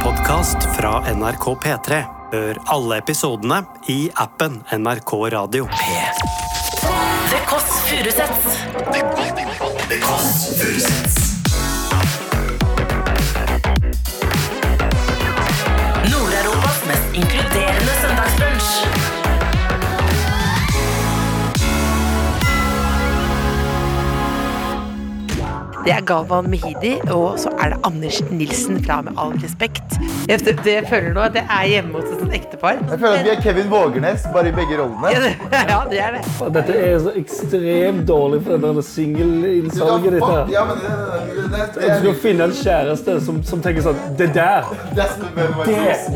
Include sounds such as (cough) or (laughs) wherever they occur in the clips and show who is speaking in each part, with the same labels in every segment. Speaker 1: podkast fra NRK P3. Hør alle episodene i appen NRK Radio.
Speaker 2: The Kåss Furuseths. Nord-Europas mest inkluderende søndagsbrunsch.
Speaker 3: Det er Galvan Mehidi, og så er det Anders Nilsen fra Med all respekt. Jeg, det, det jeg føler nå, at jeg er hjemme hos et sånt ektepar.
Speaker 4: Jeg føler at vi er Kevin Vågernes, bare i begge rollene.
Speaker 3: (laughs) Ja, det- ja, det er det.
Speaker 5: Og Dette er så ekstremt dårlig for det der singelinnsalget ditt. her.
Speaker 4: Ja, men det, det, det, det,
Speaker 5: At du skal finne en kjæreste som, som tenker sånn Det der! Det,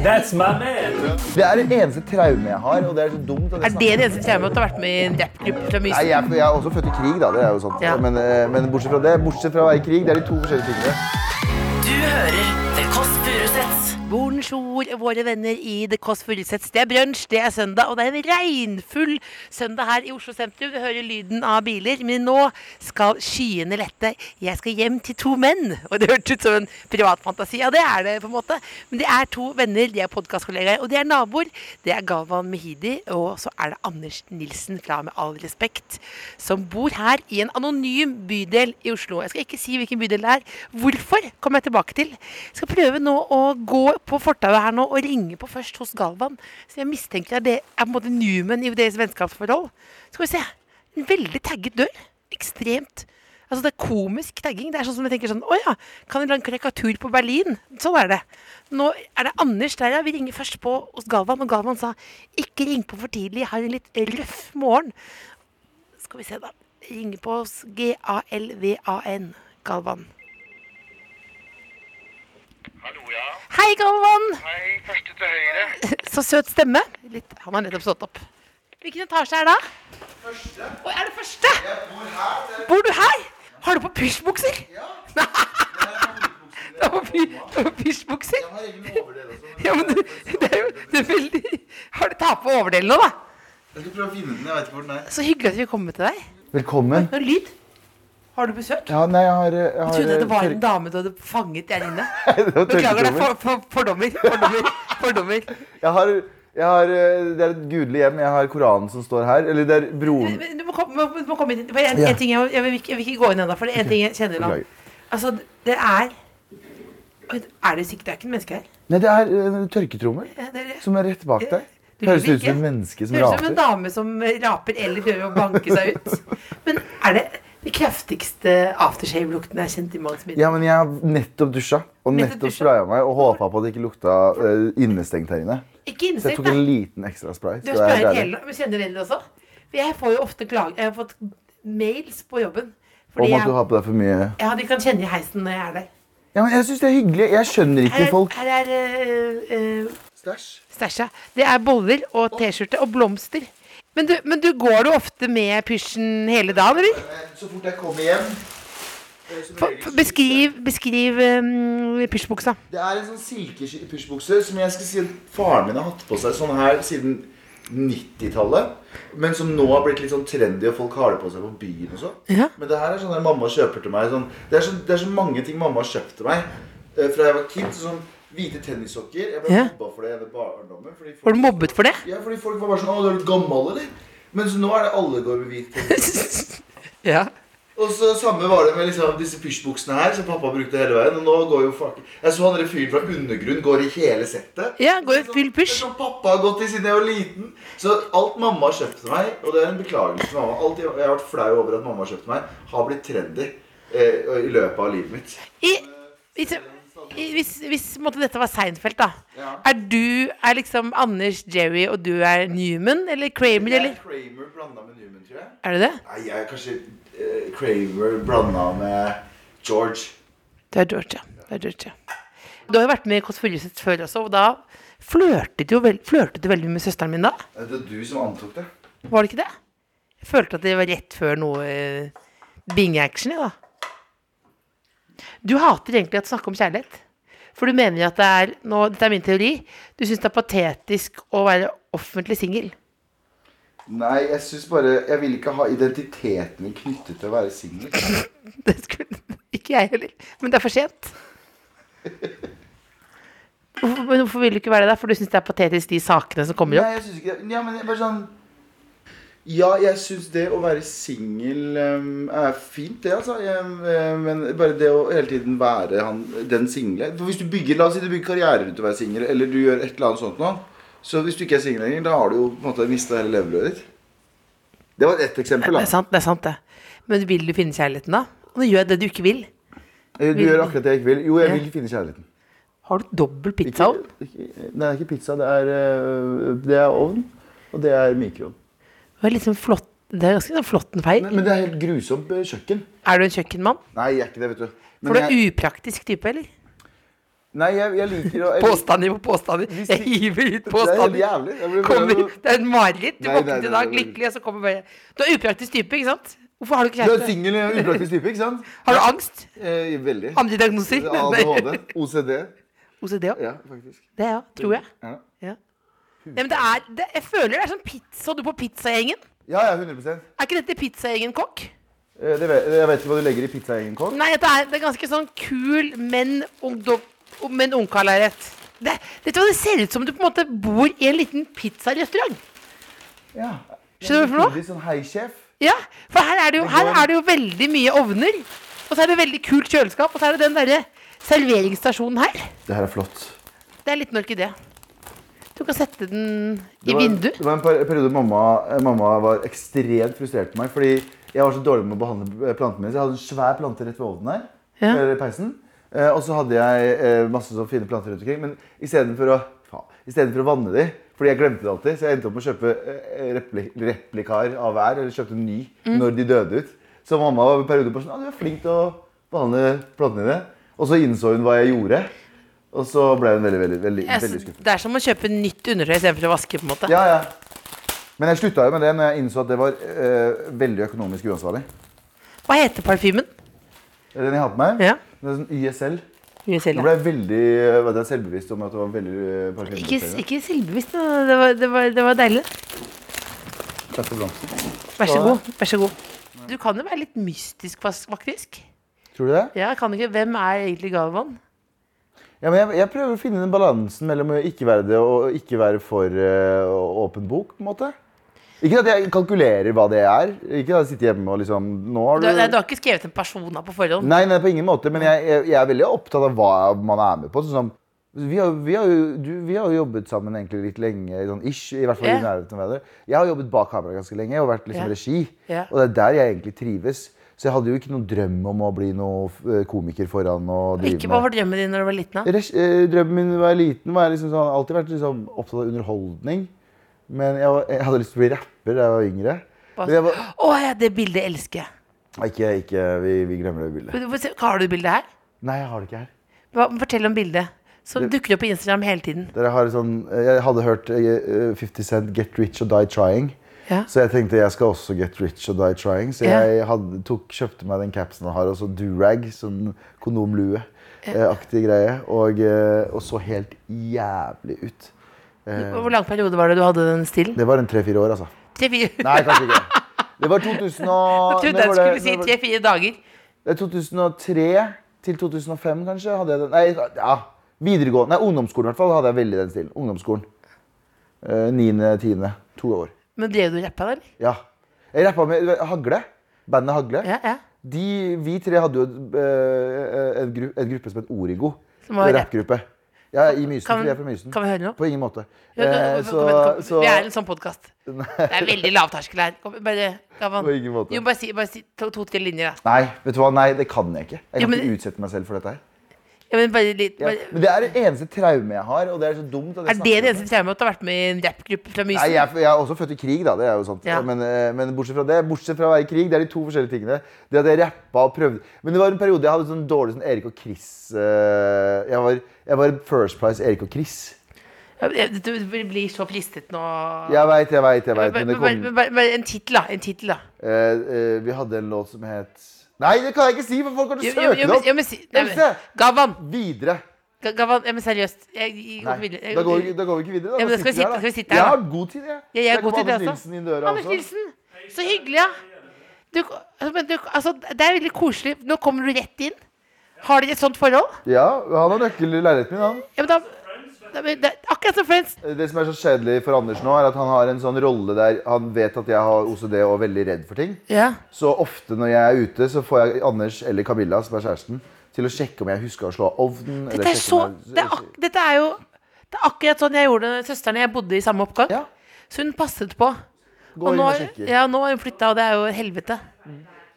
Speaker 5: that's my man!
Speaker 4: det er det eneste traumet jeg har, og det er så dumt. at
Speaker 3: Er
Speaker 4: jeg
Speaker 3: det det eneste traumet at du har vært med i en rappgruppe fra
Speaker 4: Nei,
Speaker 3: Mysen?
Speaker 4: jeg, jeg er også født i krig, da. Det er jo sant.
Speaker 3: Ja.
Speaker 4: Men, eh, men bortsett fra det, bortsett fra å være i krig, det er de to forskjellige tingene.
Speaker 2: Du hører The Kåss Furuseths.
Speaker 3: Bonjour, våre venner i The Kåss Furuseths. Det er brunsj, det er søndag, og det er en regnfull søndag her i Oslo sentrum. Du hører lyden av biler, men nå skal skyene lette. Jeg skal hjem til to menn. Og det hørtes ut som en privat fantasi. Ja, det er det, på en måte. Men det er to venner, de er podkastkollegaer, og de er naboer. Det er Galvan Mehidi, og så er det Anders Nilsen fra Med all respekt, som bor her i en anonym bydel i Oslo. Jeg skal ikke si hvilken bydel det er. Hvorfor kommer jeg tilbake til. Jeg skal prøve nå å gå på fortauet her nå og ringe på først hos Galvan. Så jeg mistenker at det er på en måte Newman i deres vennskapsforhold. Skal vi se. En veldig tagget dør. Ekstremt. Altså Det er komisk tagging. Det er sånn som jeg tenker sånn Å ja, kan en lang karikatur på Berlin. Sånn er det. Nå er det Anders der, ja. Vi ringer først på hos Galvan, og Galvan sa ikke ring på for tidlig, jeg har en litt røff morgen. Skal vi se, da. Ringe på oss G-A-L-V-A-N. Galvan.
Speaker 6: Hallo, ja.
Speaker 3: Hei, Galvan!
Speaker 6: Hei, første til høyre.
Speaker 3: Så søt stemme. Litt, han har nettopp stått opp. Hvilken etasje er det? Første. Å, er det første? bor du her? Har du på pysjbukser? (laughs) Ja. du har på py- du har på pysjbukser? Ja, men du, det er jo det er veldig Har du ta på overdelen nå, da?
Speaker 4: Jeg skal prøve å finne den. Jeg vet ikke hvor den er.
Speaker 3: Så hyggelig at vi kom til deg.
Speaker 4: Velkommen.
Speaker 3: Noe lyd? Har du besøk?
Speaker 4: Ja, nei, jeg har eh, Jeg, har,
Speaker 3: Jeg trodde
Speaker 4: eh,
Speaker 3: det var
Speaker 4: tørk-
Speaker 3: en dame du hadde fanget der inne.
Speaker 4: (laughs) Det var
Speaker 3: Beklager, det er
Speaker 4: tørketrommel.
Speaker 3: for, for, fordommer. Fordommer. fordommer.
Speaker 4: Jeg har, jeg har eh, Det er et gudelig hjem. Jeg har Koranen som står her. Eller det er broren
Speaker 3: Men Du må komme, du må komme inn. For en,
Speaker 4: Mm. Ja.
Speaker 3: en ting jeg, må- jeg, vil ikke, jeg vil ikke gå inn ennå, for det er en ting jeg kjenner nå.
Speaker 4: beklager.
Speaker 3: Altså, det er Oi, Er det sikkert det er ikke en menneske her?
Speaker 4: Nei, det er eh, en tørketrommel
Speaker 3: Ja, Det er,
Speaker 4: som er rett bak deg.
Speaker 3: Eh, Du
Speaker 4: Høres
Speaker 3: liker
Speaker 4: ut som et menneske som
Speaker 3: det høres ut som en
Speaker 4: raper.
Speaker 3: dame som raper eller prøver å banke seg ut. Men er det den kraftigste aftershave-lukten jeg har kjent i manns minne?
Speaker 4: Ja, men jeg har nettopp dusja og
Speaker 3: Nettopp
Speaker 4: nettopp
Speaker 3: dusja?
Speaker 4: spraya meg og håpa på at det ikke lukta eh, innestengt her inne.
Speaker 3: Ikke
Speaker 4: Så jeg
Speaker 3: innsikt,
Speaker 4: tok en
Speaker 3: da.
Speaker 4: liten ekstra spray.
Speaker 3: Du
Speaker 4: skal
Speaker 3: har
Speaker 4: jeg
Speaker 3: sprayet
Speaker 4: være ærlig.
Speaker 3: hele Men Kjenner dere det også? For Jeg får jo ofte klage Jeg har fått mails på jobben. Fordi
Speaker 4: Om at du
Speaker 3: jeg,
Speaker 4: har på deg for mye
Speaker 3: ja, de kan kjenne i heisen når jeg er der.
Speaker 4: Ja, men Jeg syns det er hyggelig. Jeg skjønner ikke
Speaker 3: Her er,
Speaker 4: folk.
Speaker 3: her er eh, eh,
Speaker 4: Stæsj.
Speaker 3: Stæsja. Det er boller og T-skjorte og blomster. Men du, men du går du ofte med pysjen hele dagen, eller?
Speaker 4: Eh, Så fort jeg kommer hjem Eh,
Speaker 3: Få- få- Beskriv, beskriv um, pysjbuksa.
Speaker 4: Det er en sånn silkepysjbukse som jeg skal si at faren min har hatt på seg sånn her siden 90-tallet. Men som nå har blitt litt sånn trendy, og folk har det på seg på byen og sånn.
Speaker 3: Ja.
Speaker 4: Men det her er sånn der mamma kjøper til meg sånn, det, er så, det er så mange ting mamma har kjøpt til meg eh, fra jeg var kid. Sånn hvite tennissokker. Jeg ble
Speaker 3: Ja.
Speaker 4: mobba for det i barndommen. fordi folk-
Speaker 3: Var du mobbet for det?
Speaker 4: Ja, fordi folk var bare sånn 'Å, du er litt gammel, eller?' Men så nå er det alle går med hvit tennis.
Speaker 3: (laughs) Ja.
Speaker 4: Og så samme var det med liksom disse pysjbuksene her, som pappa brukte hele veien. Og nå går jo fuck Jeg så han der fyren fra Undergrunn går i hele settet.
Speaker 3: Ja, går i
Speaker 4: Sånn-
Speaker 3: full pysj.
Speaker 4: det er Sånn pappa har gått i siden jeg var liten. Så alt mamma har kjøpt til meg, og det er en beklagelse til mamma Alt jeg, jeg har vært flau over at mamma har kjøpt til meg, har blitt trendy eh, i løpet av livet mitt.
Speaker 3: I, hvis, i, hvis, hvis måtte dette var Seinfeld, da.
Speaker 4: Ja.
Speaker 3: Er du er liksom Anders Jerry, og du er Newman eller Kramer,
Speaker 4: Jeg
Speaker 3: eller?
Speaker 4: er Kramer blanda med Newman, tror jeg.
Speaker 3: Er du det?
Speaker 4: Nei, jeg er kanskje eh, Kramer blanda med George.
Speaker 3: Du er Georgia. Du er Georgia. Du har jo vært med i Kåss Furuseth før også, og da flørtet du, jo vel- flørtet du veldig med søsteren min da?
Speaker 4: Det er du som antok det.
Speaker 3: Var det ikke det? Jeg følte at det var rett før noe eh, binge-action, jeg, da. Du hater egentlig at snakke om kjærlighet. For du mener at det er nå, Dette er min teori. Du syns det er patetisk å være offentlig singel. (laughs)
Speaker 4: Nei, jeg syns bare Jeg vil ikke ha identiteten min knyttet til å være singel.
Speaker 3: Det skulle ikke jeg heller. Men det er for sent. Hvorfor, men hvorfor vil du ikke være det? da? For du syns det er patetisk, de sakene som kommer opp?
Speaker 4: Nei, jeg synes ikke det. Ja, men jeg bare sånn Ja, jeg syns det å være singel ehm, er fint, det, altså. Jeg, eh, men bare det å hele tiden være han, den single For hvis du bygger, La oss si du bygger karriere rundt å være singel, eller du gjør et eller annet sånt nå. Så hvis du ikke er singel lenger, da har du jo på en måte mista hele levebrødet ditt. Det var ett eksempel.
Speaker 3: Det
Speaker 4: da
Speaker 3: er sant, det er sant, det. Men vil du finne kjærligheten, da? Og du gjør det du ikke vil.
Speaker 4: Eh, Du gjør akkurat det jeg ikke vil. Jo, jeg vil finne kjærligheten.
Speaker 3: Har du dobbel
Speaker 4: Ikke,
Speaker 3: pizzaovn?
Speaker 4: ikke, nei, det er ikke pizza. Det er, eh, det er ovn, og det er mikroovn.
Speaker 3: Det er liksom flott. Det er ganske sånn flotten feil.
Speaker 4: Men det er helt grusomt eh, kjøkken.
Speaker 3: Er du en kjøkkenmann?
Speaker 4: Nei, jeg er ikke det, vet du. Men
Speaker 3: For du er
Speaker 4: jeg,
Speaker 3: upraktisk type, eller?
Speaker 4: nei, jeg, jeg liker å jeg,
Speaker 3: Påstander på påstander.
Speaker 4: Hvis
Speaker 3: Jeg
Speaker 4: de-
Speaker 3: hiver ut
Speaker 4: Det er helt
Speaker 3: påstander.
Speaker 4: jævlig. Jeg blir
Speaker 3: Kommer,
Speaker 4: bare-
Speaker 3: det er et mareritt. Du
Speaker 4: Nei, nei,
Speaker 3: våkner i
Speaker 4: nei,
Speaker 3: dag
Speaker 4: nei, nei.
Speaker 3: lykkelig, og så kommer bare Du er upraktisk type, ikke sant? Hvorfor har du ikke
Speaker 4: Du er
Speaker 3: kjæreste?
Speaker 4: singel og upraktisk type, ikke sant?
Speaker 3: Har du angst?
Speaker 4: Eh, veldig.
Speaker 3: Andre diagnoser? (laughs)
Speaker 4: ADHD. OCD.
Speaker 3: OCD òg?
Speaker 4: Ja, faktisk.
Speaker 3: Det ja, tror jeg.
Speaker 4: Ja,
Speaker 3: Ja. Nei, men det er, det, jeg føler det er sånn pizza du på pizzagjengen.
Speaker 4: ja, ja 100
Speaker 3: Er ikke dette pizzagjengen kokk?
Speaker 4: eh, det vet, Jeg vet ikke hva du legger i pizzaeggen, Kåk.
Speaker 3: Nei, det er, det er ganske sånn kul, men, ungdom, men ungkarlerett. Det, vet du hva, det ser ut som du på en måte bor i en liten pizzarestaurant.
Speaker 4: Ja.
Speaker 3: Skjønner du hva for noe?
Speaker 4: Veldig sånn hei, sjef.
Speaker 3: Ja, for her er, det jo,
Speaker 4: Det går
Speaker 3: her
Speaker 4: an.
Speaker 3: er det jo veldig mye ovner. Og så er det veldig kult kjøleskap, og så er det den derre serveringsstasjonen her.
Speaker 4: Det her er flott.
Speaker 3: Det er litt en orkidé. Du kan sette den i
Speaker 4: Det var-
Speaker 3: vinduet.
Speaker 4: Det var en per- periode mamma, eh, mamma var ekstremt frustrert på meg. Fordi jeg var så dårlig med å behandle eh, plantene mine. Så jeg hadde en svær plante rett ved ovnen her.
Speaker 3: Ja.
Speaker 4: Eller peisen. Eh, og så hadde jeg eh, masse sånne fine planter rundt omkring. Men istedenfor å, faen, i stedet for å vanne de, fordi jeg glemte det alltid, så jeg endte opp med å kjøpe eh, repli, replikar av hver. Eller kjøpte en ny
Speaker 3: Mm.
Speaker 4: når de døde ut. Så mamma var en periode på sånn, ah, du er flink til å behandle plantene dine. Og så innså hun hva jeg gjorde. Og så ble hun veldig, veldig, veldig,
Speaker 3: Jeg,
Speaker 4: veldig
Speaker 3: s-
Speaker 4: skuffet.
Speaker 3: det er som å kjøpe nytt undertøy istedenfor å vaske, på en måte.
Speaker 4: Ja, ja. Men jeg slutta jo med det når jeg innså at det var eh, veldig økonomisk uansvarlig.
Speaker 3: Hva heter parfymen?
Speaker 4: Den jeg har på meg,
Speaker 3: Ja.
Speaker 4: det er sånn YSL.
Speaker 3: Mye selv,
Speaker 4: Nå
Speaker 3: ja.
Speaker 4: ble jeg veldig eh, vet jeg, selvbevisst om at det var veldig eh,
Speaker 3: Ikke,
Speaker 4: parfymebasert.
Speaker 3: ikke selvbevisst, men det var, det, var, det var deilig.
Speaker 4: Takk for blomsten.
Speaker 3: Vær så god. vær så god. Du kan jo være litt mystisk, fas- faktisk.
Speaker 4: Tror du det?
Speaker 3: Ja, kan du ikke. Hvem er egentlig Galvan?
Speaker 4: Ja, men jeg, jeg prøver å finne den balansen mellom å ikke være det og ikke være for eh, å- åpen bok. på en måte. Ikke at jeg kalkulerer hva det er. Ikke at jeg sitter hjemme og liksom nå har
Speaker 3: Du,
Speaker 4: du...
Speaker 3: nei, du har ikke skrevet en persona på forhånd.
Speaker 4: Nei, nei, på ingen måte. Men jeg, jeg, jeg er veldig opptatt av hva man er med på. Sånn som, vi, har, vi, har jo, du, vi har jo jobbet sammen egentlig litt lenge, sånn ish, i hvert fall
Speaker 3: Ja.
Speaker 4: i nærheten av hverandre. Jeg har jobbet bak kamera ganske lenge og vært liksom
Speaker 3: Ja.
Speaker 4: regi.
Speaker 3: Ja.
Speaker 4: Og det er der jeg egentlig trives. Så jeg hadde jo ikke noen drøm om å bli noen eh, komiker foran og drive
Speaker 3: Ikke Hva var drømmen din når du var liten? da?
Speaker 4: Res- eh, Drømmen min da jeg var liten, var jeg liksom sånn, alltid vært liksom opptatt av underholdning. Men jeg, var, jeg hadde lyst til å bli rapper da jeg var yngre. Men jeg var,
Speaker 3: Å ja, det bildet elsker jeg.
Speaker 4: ikke, ikke, vi, vi glemmer det bildet.
Speaker 3: Men du får se- Har du bildet her?
Speaker 4: Nei, jeg har det ikke her.
Speaker 3: Hva, fortell om bildet. Som dukker opp på Instagram hele tiden.
Speaker 4: Dere har sånn, jeg hadde hørt eh, 50 Cent 'Get Rich or Die Trying'.
Speaker 3: Ja.
Speaker 4: Så jeg tenkte jeg skal også get rich or die trying. Så
Speaker 3: Ja.
Speaker 4: jeg hadde, tok, kjøpte meg den capsen jeg har, og så durag, sånn kondomlue-aktig greie. Og, eh, og så helt jævlig ut.
Speaker 3: Hvor lang periode var det du hadde den stilen?
Speaker 4: Det var en tre-fire år, altså.
Speaker 3: Tre-fire
Speaker 4: Nei, kanskje ikke. Det var 2000
Speaker 3: (laughs)
Speaker 4: og,
Speaker 3: Jeg trodde
Speaker 4: når
Speaker 3: jeg
Speaker 4: var
Speaker 3: skulle
Speaker 4: det-
Speaker 3: si
Speaker 4: når var det?
Speaker 3: tre-fire dager.
Speaker 4: Det er 2003 til 2005, kanskje. hadde jeg den. Nei, ja, videregående. Nei, ungdomsskolen i hvert fall hadde jeg veldig den stilen. Ungdomsskolen. Eh, Niende, tiende. To år.
Speaker 3: Men drev du og rappa, da? eller?
Speaker 4: Ja. Jeg rappa med du vet, Hagle. Bandet Hagle.
Speaker 3: Ja, ja.
Speaker 4: De, vi tre hadde jo et, eh, en, gru, en gruppe som het Origo.
Speaker 3: Som var
Speaker 4: En rappgruppe. Ja, i Mysen.
Speaker 3: Kan-
Speaker 4: for vi er fra Mysen.
Speaker 3: kan vi høre noe?
Speaker 4: På ingen måte.
Speaker 3: Ja, da-
Speaker 4: Eh,
Speaker 3: kom-
Speaker 4: så-
Speaker 3: kom igjen, kom.
Speaker 4: så-
Speaker 3: Vi er en sånn podkast. Det er veldig lavterskel her. Kom, bare, Gavan.
Speaker 4: På ingen måte.
Speaker 3: Jo, bare si, bare si to- to-tre linjer, da.
Speaker 4: Nei, vet du hva? Nei, det kan jeg ikke. Jeg
Speaker 3: Jo,
Speaker 4: kan
Speaker 3: men-
Speaker 4: ikke utsette meg selv for dette her.
Speaker 3: Ja, men bare litt,
Speaker 4: Ja.
Speaker 3: bare,
Speaker 4: Men det er det eneste traumet jeg har, og det er så dumt at jeg
Speaker 3: Er
Speaker 4: snakker
Speaker 3: det
Speaker 4: om
Speaker 3: det eneste traumet at du har vært med i en rappgruppe fra
Speaker 4: Nei,
Speaker 3: Mysen?
Speaker 4: jeg, er f- jeg er også født i krig, da. det er jo sant.
Speaker 3: Ja.
Speaker 4: Men, eh, men bortsett fra det, bortsett fra å være i krig, det er de to forskjellige tingene. Det at jeg rappa og prøvde Men det var en periode jeg hadde sånn dårlig sånn Erik og Chris eh, jeg, var, jeg var First Price Erik og Chris.
Speaker 3: Jeg- Du du blir så fristet nå.
Speaker 4: Jeg veit, jeg veit, jeg
Speaker 3: Men
Speaker 4: veit.
Speaker 3: bare-
Speaker 4: Men det
Speaker 3: men bare-
Speaker 4: kom
Speaker 3: men bare- bare En tittel, da. En tittel, da.
Speaker 4: Eh, eh, Vi hadde en låt som het Nei, det kan jeg ikke si, for folk kan
Speaker 3: Jo,
Speaker 4: jo
Speaker 3: jo,
Speaker 4: søke
Speaker 3: jo,
Speaker 4: det
Speaker 3: men- jo, men
Speaker 4: opp.
Speaker 3: si- nei, men-
Speaker 4: Else!
Speaker 3: Gavan!
Speaker 4: Videre.
Speaker 3: Ga- Gavan, ja, men seriøst. Jeg, jeg går
Speaker 4: Nei,
Speaker 3: ikke videre. Jeg-
Speaker 4: da går, vi, da går vi ikke videre. Da,
Speaker 3: Ja, men da skal vi
Speaker 4: sitter
Speaker 3: sitte-
Speaker 4: her, da.
Speaker 3: skal vi sitte her,
Speaker 4: Jeg
Speaker 3: da.
Speaker 4: har god tid, jeg.
Speaker 3: jeg er
Speaker 4: kom
Speaker 3: god til det,
Speaker 4: Anders
Speaker 3: altså.
Speaker 4: Nilsen inn døra
Speaker 3: Anders
Speaker 4: også.
Speaker 3: Nilsen, så hyggelig, ja. Du, altså, men du, altså, det er veldig koselig. Nå kommer du rett inn. Har dere et sånt forhold?
Speaker 4: Ja, han har nøkkel i leiligheten min, han.
Speaker 3: Ja, men da, Nei, men det er akkurat som Friends.
Speaker 4: Det som er så kjedelig for Anders nå, er at han har en sånn rolle der han vet at jeg har OCD og er veldig redd for ting.
Speaker 3: Ja.
Speaker 4: Så ofte når jeg er ute, så får jeg Anders eller Camilla, som er kjæresten, til å sjekke om jeg husker å slå av ovnen. eller
Speaker 3: Dette er,
Speaker 4: sjekke
Speaker 3: så,
Speaker 4: om jeg-
Speaker 3: det er, ak dette er jo det er akkurat sånn jeg gjorde det søsteren og jeg bodde i samme oppgang.
Speaker 4: Ja.
Speaker 3: Så hun passet på.
Speaker 4: Gå inn
Speaker 3: nå,
Speaker 4: og
Speaker 3: har-
Speaker 4: sjekke.
Speaker 3: ja, nå har hun flytta, og det er jo helvete.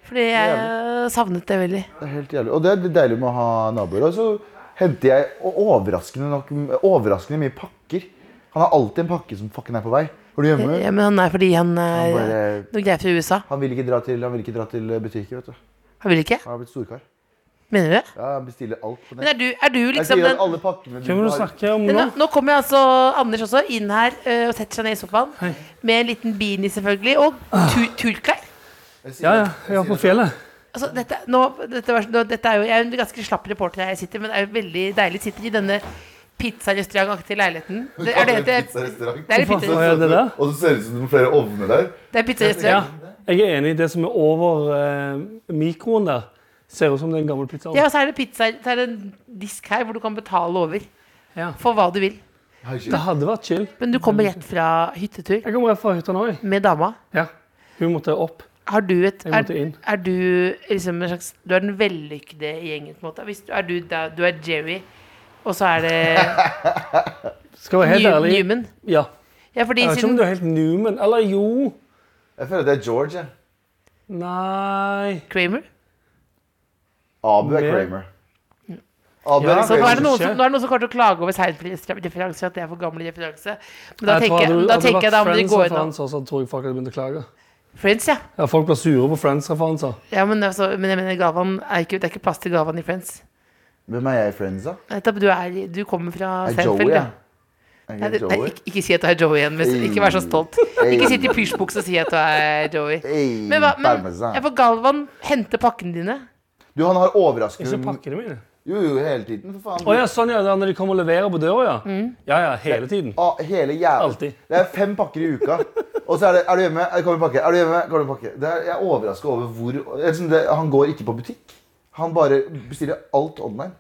Speaker 3: Fordi jeg savnet det veldig.
Speaker 4: Det er helt jævlig. Og det er litt deilig med å ha naboer. Og så henter jeg o- overraskende, nok, overraskende mye pakker. Han har alltid en pakke som fucking er på vei. Er du hjemme?
Speaker 3: Ja, men han er fordi han eh, er
Speaker 4: Han bare-
Speaker 3: noe greier fra USA.
Speaker 4: Han vil ikke dra til, han vil ikke dra til butikker, vet du.
Speaker 3: Han vil ikke?
Speaker 4: Han har blitt storkar.
Speaker 3: Mener du det?
Speaker 4: Ja, han bestiller alt på
Speaker 3: Men
Speaker 4: nett.
Speaker 3: er du, er du
Speaker 4: Jeg
Speaker 3: liksom
Speaker 4: sier
Speaker 3: den
Speaker 4: at alle pakkene du
Speaker 5: Hvem er det du
Speaker 4: har
Speaker 5: snakker om
Speaker 3: Men
Speaker 5: nå?
Speaker 3: nå, nå kommer altså Anders også inn her ø, og setter seg ned i sofaen. Med en liten beanie, selvfølgelig. Og tu turklær.
Speaker 4: Jeg sier
Speaker 5: Ja, ja.
Speaker 4: at-
Speaker 5: Jeg var på fjellet.
Speaker 3: Altså, dette, nå, dette, var, nå, dette er jo, jeg er jo en ganske slapp reporter her jeg sitter, men det er jo veldig deilig. Sitter i denne pizzarestaurantaktige leiligheten. Det er det det heter.
Speaker 4: Pizzarestaurant.
Speaker 3: Det er en
Speaker 5: Hva
Speaker 3: pizza-
Speaker 5: er det der?
Speaker 4: Og så ser det ut som det er flere ovner der.
Speaker 3: det er
Speaker 5: Ja,
Speaker 3: pizzarestaurant.
Speaker 5: jeg er enig i det som er over eh, mikroen der. Ser ut som det er en gammel pizzaovn.
Speaker 3: Ja, og så er det, pizza, så er det en disk her hvor du kan betale over
Speaker 5: Ja.
Speaker 3: for hva du vil.
Speaker 5: Det hadde vært chill.
Speaker 3: Men du kommer rett fra hyttetur
Speaker 5: Jeg kommer rett fra hytta nå. jeg.
Speaker 3: med dama.
Speaker 5: Ja. Hun måtte opp.
Speaker 3: Har du et
Speaker 5: Jeg
Speaker 3: er,
Speaker 5: måtte inn.
Speaker 3: er du liksom en slags Du er den vellykkede i gjengen, på en måte. Hvis du, er du, da, du er Jerry, og så er
Speaker 5: (laughs)
Speaker 3: det
Speaker 5: Skal jeg være helt
Speaker 3: New,
Speaker 5: ærlig.
Speaker 3: Newman.
Speaker 5: Ja.
Speaker 3: Ja, fordi
Speaker 5: Jeg vet ikke om
Speaker 3: siden
Speaker 5: du er helt Newman. Eller jo.
Speaker 4: Jeg føler at det er George. jeg.
Speaker 5: Nei
Speaker 3: Kramer
Speaker 4: Abu er
Speaker 5: Mer.
Speaker 4: Kramer. Abu
Speaker 5: Ja,
Speaker 4: er
Speaker 3: Så nå er, det
Speaker 4: Kramer.
Speaker 3: noen som, nå er det noen som kommer til å klage over Seinfeld-referanser. At det er for gamle referanse. Men da
Speaker 5: Jeg
Speaker 3: tenker
Speaker 5: tror altså,
Speaker 3: jeg
Speaker 5: hadde-
Speaker 3: da,
Speaker 5: hadde
Speaker 3: tenker jeg da må
Speaker 5: vært
Speaker 3: de gå innom
Speaker 5: Friends-referanser, så tror jeg folk hadde begynt å klage.
Speaker 3: Friends, ja.
Speaker 5: Ja, Folk blir sure på Friends-referanser.
Speaker 3: ja men, altså, men jeg mener Galvan er ikke, det er ikke plass til Galvan i Friends.
Speaker 4: Hvem er jeg i Friends, da?
Speaker 3: Nettopp, du, er, du kommer fra
Speaker 4: Er jeg
Speaker 3: Seinfeld.
Speaker 4: Joey,
Speaker 3: Ja.
Speaker 4: jeg? Er
Speaker 3: Nei,
Speaker 4: jeg
Speaker 3: du- nei,
Speaker 4: Joey?
Speaker 3: ikke, ikke si at du er Joey igjen. men Ikke vær så stolt.
Speaker 4: Hey.
Speaker 3: Ikke sitt i pysjbukse og si at du er Joey.
Speaker 4: Hey,
Speaker 3: Men, hva, men
Speaker 4: parmesan.
Speaker 3: jeg får Galvan hente pakkene dine.
Speaker 4: Du, han har
Speaker 5: Ikke
Speaker 4: overraskende
Speaker 5: pakkene mine.
Speaker 4: Jo, jo, hele tiden, for faen.
Speaker 5: Å ja, sånn ja. det er Når de kommer og leverer på døra, ja.
Speaker 3: Mm.
Speaker 5: Ja ja, hele tiden.
Speaker 4: Ah, hele jævla
Speaker 5: Altid.
Speaker 4: Det er fem pakker i uka. Og så er det Er du hjemme? Er det kommer en pakke. Er du hjemme? Kommer en pakke. Det er, jeg er overraska over hvor det er som det, Han går ikke på butikk. Han bare bestiller alt online.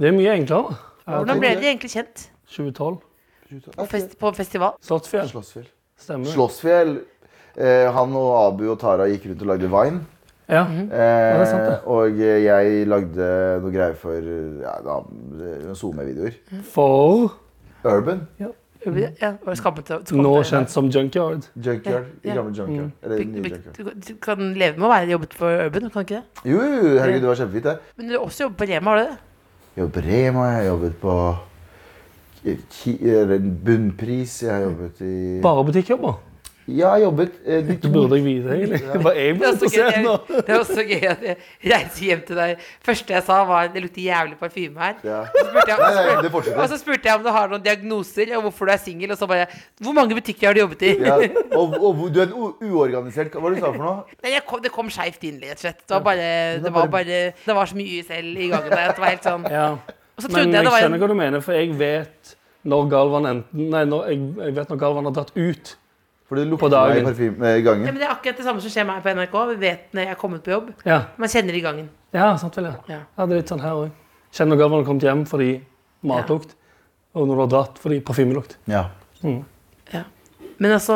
Speaker 5: Det er mye enklere.
Speaker 3: Hvordan ble dere egentlig kjent?
Speaker 5: 2012.
Speaker 3: På, fest, på festival?
Speaker 5: Slottsfjell.
Speaker 4: Slåssfjell.
Speaker 5: Stemmer.
Speaker 4: Slåssfjell. Eh, han og Abu og Tara gikk rundt og lagde Vine.
Speaker 5: Ja.
Speaker 3: Mm.
Speaker 4: Eh,
Speaker 5: det er sant,
Speaker 4: og jeg lagde noe greier for ja, da, noen SoMe-videoer.
Speaker 5: For
Speaker 4: Urban.
Speaker 3: Ja, var det skammete- skammete-
Speaker 5: nå kjent som Junkyard.
Speaker 4: Junkyard.
Speaker 3: Ja, ja.
Speaker 4: Gamle Junkyard.
Speaker 5: Mm.
Speaker 4: Eller nye Junkyard.
Speaker 3: Du, du kan leve med å være jobbet for Urban, kan du ikke det?
Speaker 4: Jo, jo, herregud, det var kjempefint, det.
Speaker 3: Men du har også jobbet på Rema, har du det?
Speaker 4: jobbet på Rema, jeg har jobbet på Ki- eller Bunnpris, jeg har jobbet i
Speaker 5: Bare butikkjobber.
Speaker 4: Ja, jeg har jobbet eh, de
Speaker 5: Det
Speaker 4: to-
Speaker 5: burde jeg vite, egentlig. Bare jeg
Speaker 3: Det
Speaker 5: blir
Speaker 3: er også gøy,
Speaker 5: interessert nå.
Speaker 3: jeg- det er også gøy at jeg reiste hjem til deg. første jeg sa, var det lukter jævlig parfyme her.
Speaker 4: Ja.
Speaker 3: Så spurte jeg,
Speaker 4: Nei, nei, det fortsetter.
Speaker 3: og så spurte jeg om du har noen diagnoser, og hvorfor du er singel. Og så bare Hvor mange butikker har du jobbet i?
Speaker 4: Ja, og, og hvor- du er en u- uorganisert Hva var det du sa for noe?
Speaker 3: (laughs) Nei, jeg kom, det kom skeivt inn, rett og slett. Det var bare Det var, bare, det var så mye YSL i gangen der at det var helt sånn
Speaker 5: Ja.
Speaker 3: Og så
Speaker 5: Men
Speaker 3: trodde jeg
Speaker 5: jeg
Speaker 3: det var en
Speaker 5: skjønner hva du mener, for jeg vet når Galvan enten Nei, når, jeg, jeg vet når Galvan har dratt ut.
Speaker 4: For det
Speaker 5: På
Speaker 4: lukter meg
Speaker 5: dagen.
Speaker 4: i parfyme eh, i
Speaker 3: ja,
Speaker 4: gangen.
Speaker 3: men Det er akkurat det samme som skjer meg på NRK. Vi vet når jeg er kommet på jobb.
Speaker 5: Ja,
Speaker 3: Man kjenner i gangen.
Speaker 5: ja sant vel, ja.
Speaker 3: Ja.
Speaker 5: ja. Det er litt sånn her òg. Kjenner når Galvan har kommet hjem fordi matlukt, og når du har dratt fordi parfymelukt.
Speaker 4: Ja.
Speaker 3: Men altså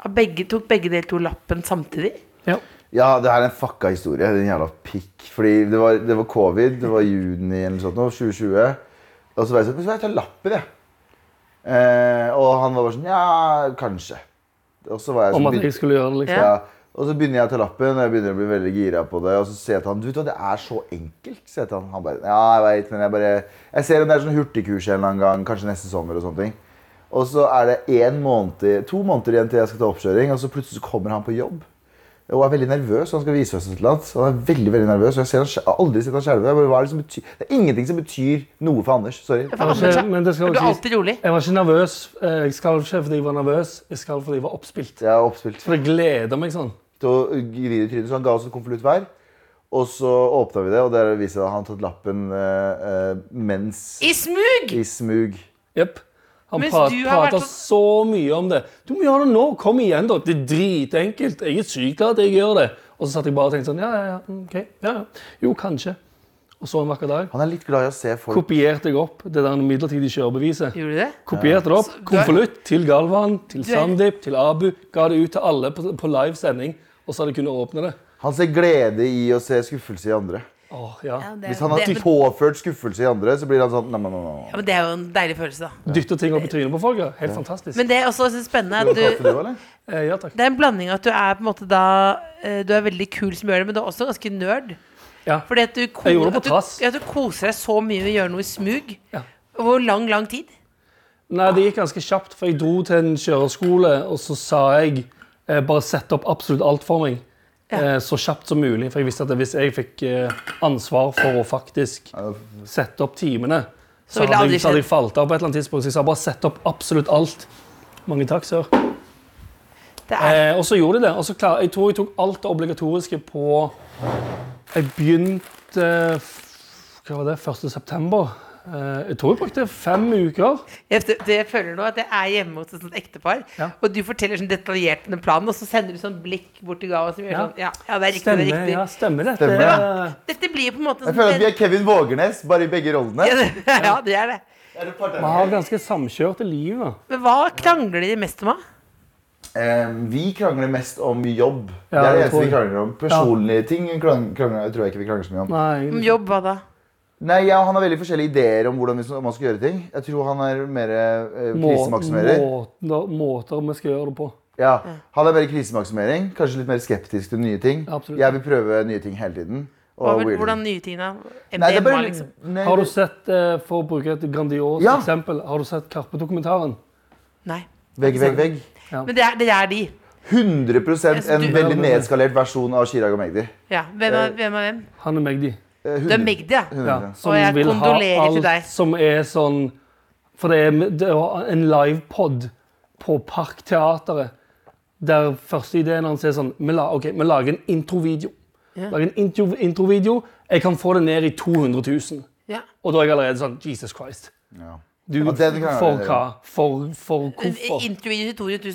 Speaker 3: har begge, Tok begge dere to lappen samtidig?
Speaker 5: Ja.
Speaker 4: ja, det her er en fucka historie. Den jævla pikk. Fordi det var, det var covid, det var juni eller noe sånt, nå, 2020. Og så var jeg sånn, men så var jeg ta lappen, jeg. Eh, og han var bare sånn, ja, kanskje. Og så var jeg sånn,
Speaker 5: Om at
Speaker 4: begynte-
Speaker 5: jeg skulle gjøre det, liksom.
Speaker 3: Ja.
Speaker 4: Ja. Og så begynner jeg å ta lappen, og jeg begynner å bli veldig gira på det. Og så sier jeg til han du vet hva, det er så enkelt. sier jeg til han. han bare, ja, jeg vet, men jeg bare, jeg ser om det er sånn hurtigkurs en eller annen gang, kanskje neste sommer. Og sånne ting. Og så er det en måned, to måneder igjen til jeg skal ta oppkjøring, og så plutselig så kommer han på jobb. Og er veldig nervøs, og han skal vise oss et eller annet. Han er veldig, veldig nervøs, og Jeg, ser han, jeg har aldri sett han skjelve. Jeg bare, hva er Det som betyr? Det er ingenting som betyr noe for Anders. Sorry.
Speaker 3: For
Speaker 5: var
Speaker 3: Anders,
Speaker 5: ikke- Altså, men det skal
Speaker 3: er du
Speaker 5: jo sies-
Speaker 3: alltid rolig?
Speaker 5: Jeg var ikke nervøs. Eh, Jeg skalv ikke fordi jeg var nervøs, jeg skalv fordi jeg var oppspilt.
Speaker 4: Jeg er oppspilt.
Speaker 5: For jeg gleder meg sånn.
Speaker 4: til å grine i trynet, så han ga oss en konvolutt hver. Og så åpna vi det, og der viste det seg at han hadde tatt lappen eh, eh, mens
Speaker 3: I smug!
Speaker 4: i smug.
Speaker 5: Jepp. Han
Speaker 3: Mens
Speaker 5: prat,
Speaker 3: du har vært
Speaker 5: prater så mye om det. Du må gjøre det nå! Kom igjen, da! Det er dritenkelt. mm, Jeg er syk av at jeg gjør det. Og så satt jeg bare og tenkte sånn Ja, ja, ja. ok. Ja, ja. Jo, kanskje. og så en vakker dag.
Speaker 4: Han er litt glad i å se folk
Speaker 5: Kopierte jeg opp det der midlertidige kjørebeviset.
Speaker 3: Gjorde du det?
Speaker 5: Kopierte det opp.
Speaker 3: Så du er-
Speaker 5: Konvolutt til Galvan, til
Speaker 3: er-
Speaker 5: Sandeep, til Abu. Ga det ut til alle på, på live sending, og så hadde jeg kunnet åpne det.
Speaker 4: Han ser glede i å se skuffelse i andre.
Speaker 5: Åh, ja.
Speaker 3: Ja, det,
Speaker 4: Hvis han har
Speaker 3: det, men,
Speaker 4: påført skuffelse i andre, så blir han sånn nei, nei, nei, nei.
Speaker 3: ja, men det er jo en deilig følelse, da.
Speaker 5: Dytte ting opp i trynet på folk. ja. Helt fantastisk.
Speaker 3: Men det er også jeg synes, spennende at
Speaker 4: Kaffe,
Speaker 3: du
Speaker 4: du, eller?
Speaker 5: eh, ja, takk.
Speaker 3: Det er en blanding at du er på en måte da eh, Du er veldig kul som gjør det, men du er også ganske nerd.
Speaker 5: Ja.
Speaker 3: Fordi at du, ko-
Speaker 5: Jeg gjorde det på
Speaker 3: at du,
Speaker 5: trass.
Speaker 3: ja, du koser deg så mye med å gjøre noe i smug.
Speaker 5: Ja.
Speaker 3: Over lang, lang tid.
Speaker 5: Nei, det gikk ganske kjapt, for jeg dro til en kjøreskole, og så sa jeg eh, bare sett opp absolutt alt for meg. Eh, så kjapt som mulig, for jeg visste at hvis jeg fikk eh, ansvar for å faktisk sette opp timene, så,
Speaker 3: ville det
Speaker 5: hadde,
Speaker 3: aldri
Speaker 5: jeg, så hadde
Speaker 3: skjedd.
Speaker 5: jeg falt av på et eller annet tidspunkt. Så jeg sa bare sett opp absolutt alt. Mange takk, sir.
Speaker 3: Det er,
Speaker 5: Eh, og så gjorde jeg det. Og så klar, jeg tror jeg tok alt det obligatoriske på Jeg begynte f- Hva var det? 1. september. Eh, jeg tror jeg brukte fem uker.
Speaker 3: jeg, det- jeg føler nå at jeg er hjemme hos et sånt ektepar,
Speaker 5: Ja.
Speaker 3: og du forteller sånn detaljert den planen, og så sender du sånn blikk bort til Gava som gjør
Speaker 5: Ja.
Speaker 3: sånn Ja, ja det er riktig.
Speaker 5: Stemmer,
Speaker 3: det er riktig.
Speaker 5: ja, stemmer det.
Speaker 4: Stemmer,
Speaker 5: det
Speaker 4: ja.
Speaker 3: Dette blir jo på en måte
Speaker 4: Jeg føler at vi
Speaker 3: sånn
Speaker 4: er Kevin Vågernes, bare i begge rollene.
Speaker 3: ja, (laughs) ja, det er det.
Speaker 5: Vi har ganske samkjørte liv. da.
Speaker 3: Men hva krangler de mest om, da?
Speaker 4: Eh, vi krangler mest om jobb.
Speaker 5: Ja,
Speaker 4: det er det
Speaker 5: det
Speaker 4: eneste
Speaker 5: tror
Speaker 4: vi
Speaker 5: jeg.
Speaker 4: krangler om. Personlige ting krang- krangler, jeg tror jeg ikke vi krangler så mye om.
Speaker 3: Om
Speaker 5: Nei,
Speaker 3: jobb, hva da?
Speaker 4: Nei, ja, Han har veldig forskjellige ideer om hvordan vi, om man skal gjøre ting. Jeg tror han er mer eh,
Speaker 5: må,
Speaker 4: krisemaksimerer.
Speaker 5: måter, måter vi skal gjøre det på.
Speaker 4: Ja, han er mer krisemaksimering, kanskje litt mer skeptisk til nye ting.
Speaker 5: Ja, absolutt.
Speaker 4: Jeg vil prøve nye ting hele tiden. Og
Speaker 3: Hva, vil-
Speaker 4: weirder.
Speaker 3: hvordan nye ting, da?
Speaker 4: Nei, det er
Speaker 3: MDMA,
Speaker 4: bare,
Speaker 3: liksom?
Speaker 4: nei,
Speaker 5: Har du sett, eh, for å bruke et grandios
Speaker 4: Ja.
Speaker 5: eksempel, har du sett Karpe-dokumentaren?
Speaker 3: Nei.
Speaker 4: Vegg, vegg, vegg.
Speaker 3: Men det er, det er de.
Speaker 4: 100 en
Speaker 3: Du-
Speaker 4: veldig nedskalert versjon av Chirag og Magdi.
Speaker 3: Ja, hvem er hvem? Er hvem?
Speaker 5: Han er Magdi.
Speaker 4: Eh,
Speaker 3: Du er
Speaker 4: 100.
Speaker 3: Magdi, ja.
Speaker 5: Ja, som
Speaker 3: Og jeg
Speaker 5: vil ha
Speaker 3: kondolerer til
Speaker 5: alt
Speaker 3: deg.
Speaker 5: som er sånn For det, er, det var en livepod på Parkteatret der første ideen hans er sånn Vi, la, ok, vi lager en introvideo. Lager en intro- introvideo. Jeg kan få det ned i 200 000.
Speaker 3: ja.
Speaker 5: Og da er jeg allerede sånn Jesus Christ.
Speaker 4: Ja.
Speaker 5: Du,
Speaker 4: Ja, den kan jeg
Speaker 5: for
Speaker 4: gjøre.
Speaker 5: hva? For, for hvorfor?
Speaker 3: Introidet 200 000.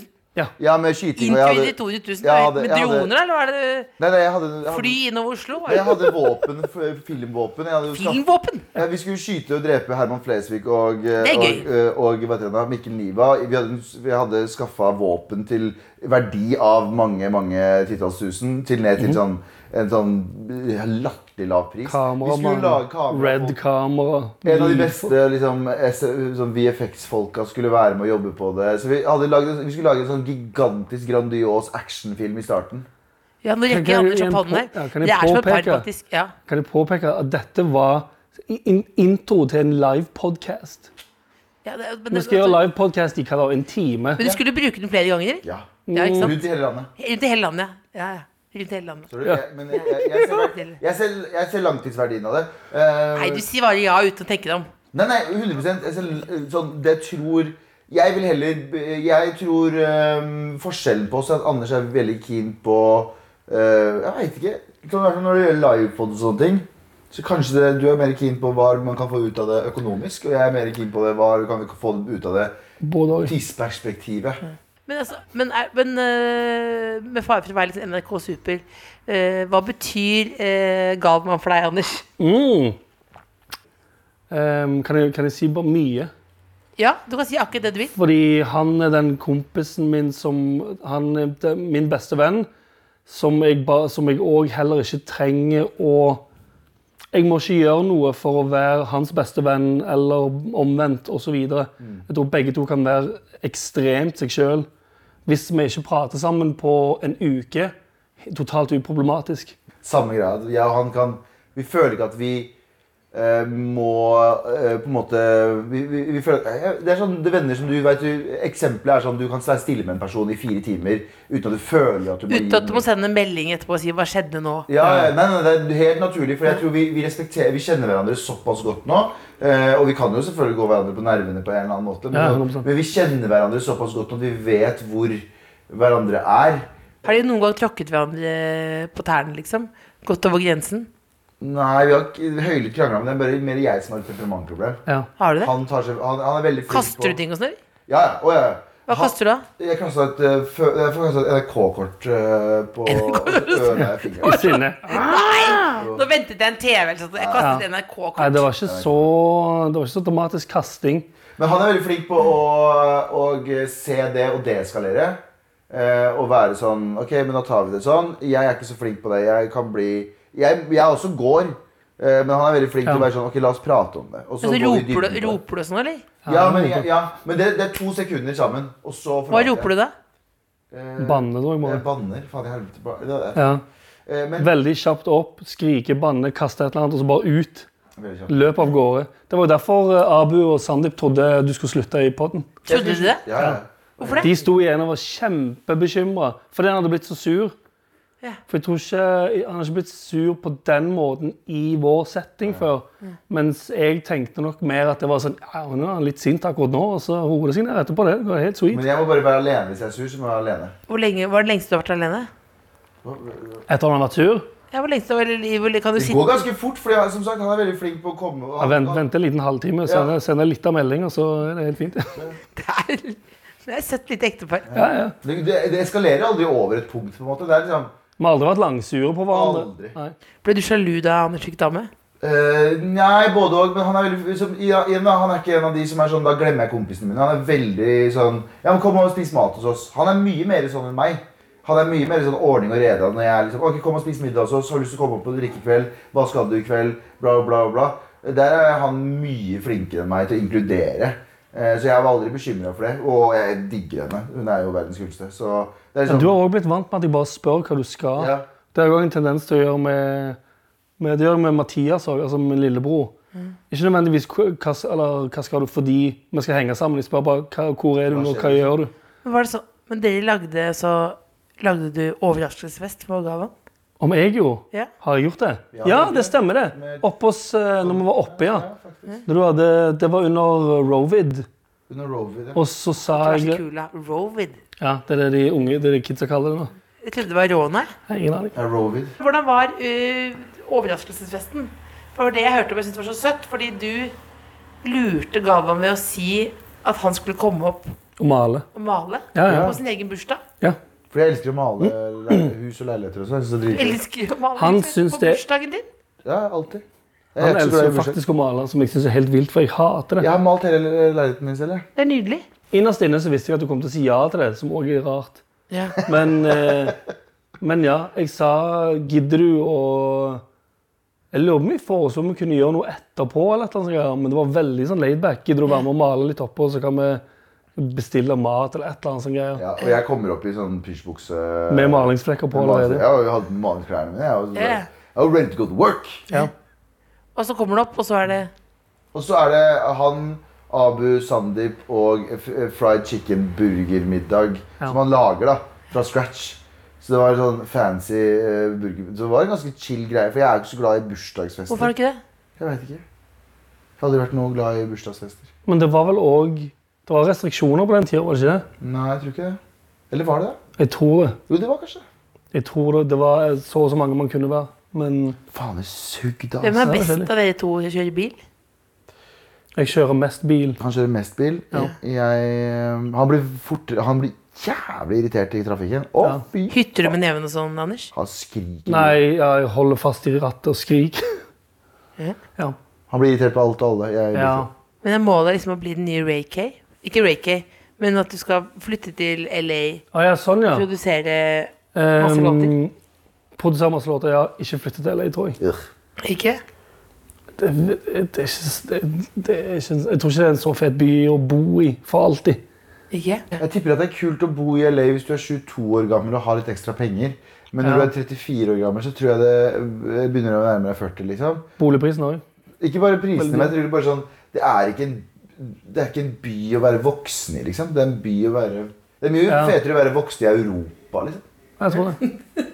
Speaker 4: ja, med skyting og jeg
Speaker 3: Introidet
Speaker 4: hadde,
Speaker 3: 200 000
Speaker 4: Ja, det-
Speaker 3: med
Speaker 4: ja, det-
Speaker 3: droner, eller var det
Speaker 4: nei, nei, jeg hadde, jeg hadde
Speaker 3: fly innover Oslo? Var
Speaker 4: Jeg
Speaker 3: det
Speaker 4: hadde våpen, f- filmvåpen. Jeg hadde jo skaff-
Speaker 3: filmvåpen?
Speaker 4: ja, vi skulle skyte og drepe Herman Flesvig og, eh,
Speaker 3: Det er
Speaker 4: og,
Speaker 3: gøy.
Speaker 4: eh, og hva heter det da, Mikkel Niva. Vi hadde, vi hadde skaffa våpen til verdi av mange mange titalls tusen. Til ned
Speaker 3: Mhm.
Speaker 4: til sånn, en sånn eh, latterlig lav pris. vi skulle lage
Speaker 5: Kameramann,
Speaker 4: kamera
Speaker 5: red
Speaker 4: på-
Speaker 5: kamera
Speaker 4: en av de
Speaker 5: lyd-
Speaker 4: beste liksom, S- sånn VFX-folka skulle være med å jobbe på det. Så Vi, hadde laget, vi skulle lage en sånn gigantisk, grandios actionfilm i starten.
Speaker 3: Ja, nå
Speaker 5: Kan-
Speaker 3: rekker
Speaker 5: kan
Speaker 3: Anders
Speaker 5: jeg
Speaker 3: opp hånden
Speaker 5: på-
Speaker 3: her.
Speaker 5: ja, kan jeg
Speaker 3: Det er som en
Speaker 5: påpeke?
Speaker 3: par, faktisk. Ja.
Speaker 5: Kan jeg påpeke at dette var in intro til en live podcast?
Speaker 3: Ja, det, men,
Speaker 5: Vi skal gjøre live podcast i hva da, en time?
Speaker 3: men du skulle bruke den flere ganger?
Speaker 4: Ja.
Speaker 3: Ja, ikke sant?
Speaker 4: Rundt i hele landet.
Speaker 3: Rundt i hele landet, ja. ja. ja. Rundt i hele landet.
Speaker 4: Tror du? Jeg, men jeg, jeg, jeg, ser, jeg, ser, jeg ser langtidsverdien av det. Eh,
Speaker 3: Nei, du sier bare ja uten å tenke deg om.
Speaker 4: nei, nei, 100 jeg ser, eh, sånn, Det tror Jeg vil heller b- Jeg tror eh, forskjellen på oss er at Anders er veldig keen på eh, Jeg veit ikke. Sånn, i hvert fall når det gjelder livepod og sånne ting. Så kanskje det, du er mer keen på hva man kan få ut av det økonomisk, og jeg er mer keen på det, hva kan vi få ut av det
Speaker 5: Både og.
Speaker 4: tidsperspektivet.
Speaker 3: Men, altså, men, er- men øh, med fare for å være litt sånn NRK Super, øh, hva betyr uh, Galvan for deg, Anders?
Speaker 5: Mm. Ehm, kan, jeg, kan jeg si bare mye?
Speaker 3: Ja, du kan si akkurat det du vil.
Speaker 5: Fordi han er den kompisen min som Han er den- min beste venn. Som jeg ba- som jeg òg heller ikke trenger å Jeg må ikke gjøre noe for å være hans beste venn eller omvendt osv. Jeg tror begge to kan være ekstremt seg sjøl. Hvis vi ikke prater sammen på en uke, totalt uproblematisk.
Speaker 4: samme greia. at Jeg og han kan Vi føler ikke at vi eh, må eh, på en måte vi, vi, vi føler, at- Det er sånn det er venner som du vet du, Eksempelet er sånn du kan være stille med en person i fire timer uten at du føler at du må gi
Speaker 3: Uten at du må
Speaker 4: noe.
Speaker 3: sende en melding etterpå og si 'hva skjedde nå'?
Speaker 4: ja, ja, nei, nei, Det er helt naturlig, for jeg tror vi, vi respekterer Vi kjenner hverandre såpass godt nå. eh, og vi kan jo selvfølgelig gå hverandre på nervene på en eller annen måte, men,
Speaker 5: Ja, 100%.
Speaker 4: men vi kjenner hverandre såpass godt at vi vet hvor hverandre er.
Speaker 3: Har de noen gang tråkket hverandre på tærne, liksom? Gått over grensen?
Speaker 4: Nei, vi har ikke høylytt krangla, men det er bare mer jeg som har et temperamentproblem.
Speaker 5: Ja.
Speaker 3: Har du det?
Speaker 4: Han, tar seg, han, han er veldig flink på
Speaker 3: Kaster du ting og sånn? eller?
Speaker 4: Ja, ja. Å, ja. ja.
Speaker 3: Hva koster det?
Speaker 4: Jeg kasta et, eh, fø- jeg får kastet et NRK-kort eh, på ørene jeg fikk.
Speaker 5: I sinne.
Speaker 3: Nå ventet jeg en TV, eller sånn. Jeg kastet NRK-kort.
Speaker 5: Nei, det var ikke så, det var ikke så dramatisk kasting.
Speaker 4: Men han er veldig flink på å, å se det og deeskalere. Eh, og være sånn Ok, men da tar vi det sånn. Jeg er ikke så flink på det. Jeg kan bli Jeg, jeg også går. Eh, men han er veldig flink til å være sånn Ok, la oss prate om det.
Speaker 3: Men
Speaker 4: Og
Speaker 3: så
Speaker 4: går vi i
Speaker 3: roper du,
Speaker 4: dybden på det.
Speaker 3: roper du sånn, eller?
Speaker 4: Ja, men, jeg- ja, men det, det er to sekunder sammen, og så
Speaker 3: Hva roper du da?
Speaker 5: Banne, tror
Speaker 4: Jeg
Speaker 5: jeg. Bare.
Speaker 4: banner. Faen i helvete. Eh, ba- Det er,
Speaker 5: Ja.
Speaker 4: eh, men,
Speaker 5: Veldig kjapt opp, skrike, banne, kaste et eller annet, og så bare ut.
Speaker 4: Veldig kjapt.
Speaker 5: Løp av gårde. Det var jo derfor eh, Abu og Sandeep trodde du skulle slutte i podden.
Speaker 3: Trodde du det?
Speaker 4: Ja, ja.
Speaker 3: Hvorfor det?
Speaker 5: De sto igjen og var kjempebekymra fordi han hadde blitt så sur.
Speaker 3: Ja.
Speaker 5: For jeg tror ikke, Han har ikke blitt sur på den måten i vår setting før. Mens jeg tenkte nok mer at det var sånn ja, Nå er han litt sint akkurat nå, og så roer det seg ned etterpå. Det går helt sweet.
Speaker 4: Men jeg må bare være alene hvis jeg er sur. så må jeg være alene.
Speaker 3: Hvor lenge, var det lengst du har vært alene?
Speaker 5: Etter at han har vært sur.
Speaker 3: Ja, hvor lengst du har vært i- hvor- Kan du
Speaker 4: Det
Speaker 3: sitte
Speaker 4: går ganske fort, for som sagt, han er veldig flink på å komme og
Speaker 5: Ja, vent, vente en liten halvtime, sende, sende litt av melding, og så er det helt fint. (laughs)
Speaker 3: der? Det er et søtt lite ektepar.
Speaker 5: Ja, ja.
Speaker 4: Det, det, det eskalerer aldri over et punkt. på en måte. Det er liksom
Speaker 5: Vi har aldri vært langsure på hverandre.
Speaker 4: Aldri.
Speaker 5: Nei.
Speaker 3: Ble du sjalu da Anders fikk dame?
Speaker 4: Eh, nei, både òg. Men han er, veldig, som, ja, igjen da, han er ikke en av de som er sånn Da glemmer jeg kompisene mine. Han er veldig sånn Ja, men kom og spis mat hos oss. Han er mye mer sånn enn meg. Han er mye mer sånn ordning og rede. Når jeg er liksom Ok, kom og spis middag hos oss. Har du lyst til å komme opp og drikke i kveld? Hva skal du i kveld? Bla, bla, bla. Der er han mye flinkere enn meg til å inkludere. Eh, så jeg var aldri bekymra for det. Og jeg digger henne. Hun er jo verdens kuleste. Så det er
Speaker 5: Men
Speaker 4: liksom
Speaker 5: du har òg blitt vant med at jeg bare spør hva du skal.
Speaker 4: Ja.
Speaker 5: Det har jeg òg en tendens til å gjøre med, med, det gjør jeg med Mathias òg, altså min lillebror.
Speaker 4: Mm.
Speaker 5: Ikke nødvendigvis hva, hva- eller, hva skal du fordi vi skal henge sammen. Jeg spør bare hva, hvor er du nå, hva
Speaker 4: skjer?
Speaker 5: gjør du?
Speaker 3: Men var det sånn Men dere lagde så Lagde du overraskelsesfest på gaven?
Speaker 5: Om jeg jo
Speaker 3: Ja.
Speaker 5: Har jeg gjort det?
Speaker 4: Ja,
Speaker 5: Ja,
Speaker 4: det-
Speaker 5: det stemmer det.
Speaker 4: Med-
Speaker 5: Oppe hos, eh, når vi var oppe, ja.
Speaker 4: faktisk.
Speaker 5: Når du hadde, det var under eh, Rovid.
Speaker 4: Under Rover, ja.
Speaker 5: Og så sa
Speaker 3: Det var så
Speaker 5: jeg
Speaker 3: kul, da. Rovid.
Speaker 5: Ja, det er det de unge, det er det kidsa kaller det nå.
Speaker 3: Jeg trodde det var råne.
Speaker 5: Jeg har Ingen aning.
Speaker 4: Ja, Rover.
Speaker 3: Hvordan var eh, overraskelsesfesten? Det var det jeg hørte om jeg syntes var så søtt, fordi du lurte Galvan ved å si at han skulle komme opp
Speaker 5: Å male.
Speaker 3: og male
Speaker 5: Ja, ja.
Speaker 3: på sin egen bursdag.
Speaker 5: ja.
Speaker 4: For jeg elsker å male leil- hus og leiligheter og sånn. jeg synes det er dritfett.
Speaker 3: Elsker å male
Speaker 5: Han
Speaker 3: liksom,
Speaker 5: syns
Speaker 3: på
Speaker 5: det-
Speaker 3: bursdagen din.
Speaker 4: Ja, alltid. Jeg er
Speaker 5: Han
Speaker 4: ikke så glad i
Speaker 5: elsker
Speaker 4: bursdag.
Speaker 5: faktisk å male, som jeg syns er helt vilt, for jeg hater det.
Speaker 4: Jeg har malt hele le- leiligheten min selv. jeg.
Speaker 3: Det er nydelig.
Speaker 5: Innerst inne så visste jeg at du kom til å si ja til det, som òg er rart.
Speaker 3: Ja.
Speaker 5: Men, eh, men ja, jeg sa Gidder du å Jeg lurer på om vi foreslo om vi kunne gjøre noe etterpå, eller et eller annet, sånt greier, men det var veldig sånn laidback. Gidder du å være med og male litt oppå, så kan vi bestille mat eller et eller annet sånt greier.
Speaker 4: Ja, og jeg kommer opp i sånn pysjbukse
Speaker 5: Med malingsflekker på
Speaker 4: Med malings-
Speaker 5: allerede.
Speaker 4: Ja, og jeg hadde med malingsklærne mine. Jeg, og så-
Speaker 3: Ja.
Speaker 4: jeg var ready to go to work.
Speaker 3: Og så kommer du opp, og så er det
Speaker 4: Og så er det han, Abu, Sandeep og f- eh, fried chicken burgermiddag
Speaker 5: Ja.
Speaker 4: som han lager da, fra scratch. Så det var en sånn fancy eh, burger... Så det var en ganske chill greie, for jeg er jo ikke så glad i bursdagsfester.
Speaker 3: Hvorfor er det ikke det?
Speaker 4: Jeg vet ikke. Jeg har aldri vært noe glad i bursdagsfester.
Speaker 5: Men det var vel òg Det var restriksjoner på den tida, var det ikke det?
Speaker 4: Nei, jeg tror ikke det. Eller var det det?
Speaker 5: Jeg tror det.
Speaker 4: Jo, det var kanskje det.
Speaker 5: Jeg tror det, det var så og så mange man kunne være. Men
Speaker 4: Faen, det sugde,
Speaker 3: Hvem
Speaker 4: altså.
Speaker 3: er best
Speaker 5: selvfølgelig.
Speaker 3: av dere to til å kjøre bil?
Speaker 5: jeg kjører mest bil.
Speaker 4: Han kjører mest bil. Jeg, eh, han blir fortere Han blir jævlig irritert i trafikken. Å,
Speaker 5: Ja.
Speaker 4: fy!
Speaker 3: Hytter du med neven og sånn, Anders?
Speaker 4: Han skriker.
Speaker 5: Nei, jeg holder fast i rattet og skriker. Ja.
Speaker 4: Han blir irritert på alt og alle. Jeg,
Speaker 5: ja.
Speaker 3: Men jeg målet er liksom å bli den nye Ray K. Ikke Ray K, men at du skal flytte til LA,
Speaker 5: Å ja, sånn, ja.
Speaker 3: produsere masse låter.
Speaker 5: Um, Produsere masse låter. Ja, ikke flytte til LA, tror jeg.
Speaker 4: Ugh.
Speaker 3: Ikke?
Speaker 5: Det, det, det, er ikke, det, det er ikke, jeg tror ikke det er en så fet by å bo i for alltid.
Speaker 3: Ikke?
Speaker 4: jeg tipper at det er kult å bo i LA hvis du er 22 år gammel og har litt ekstra penger. Men når
Speaker 5: Ja.
Speaker 4: du er 34 år gammel, så tror jeg det eh, begynner å nærme deg 40. liksom.
Speaker 5: Boligprisen òg.
Speaker 4: Ikke bare prisene, men jeg tror det bare sånn Det er ikke en, det er ikke en by å være voksen i, liksom. Det er en by å være Det er mye
Speaker 5: Ja.
Speaker 4: fetere å være voksen i Europa, liksom.
Speaker 5: Jeg tror det.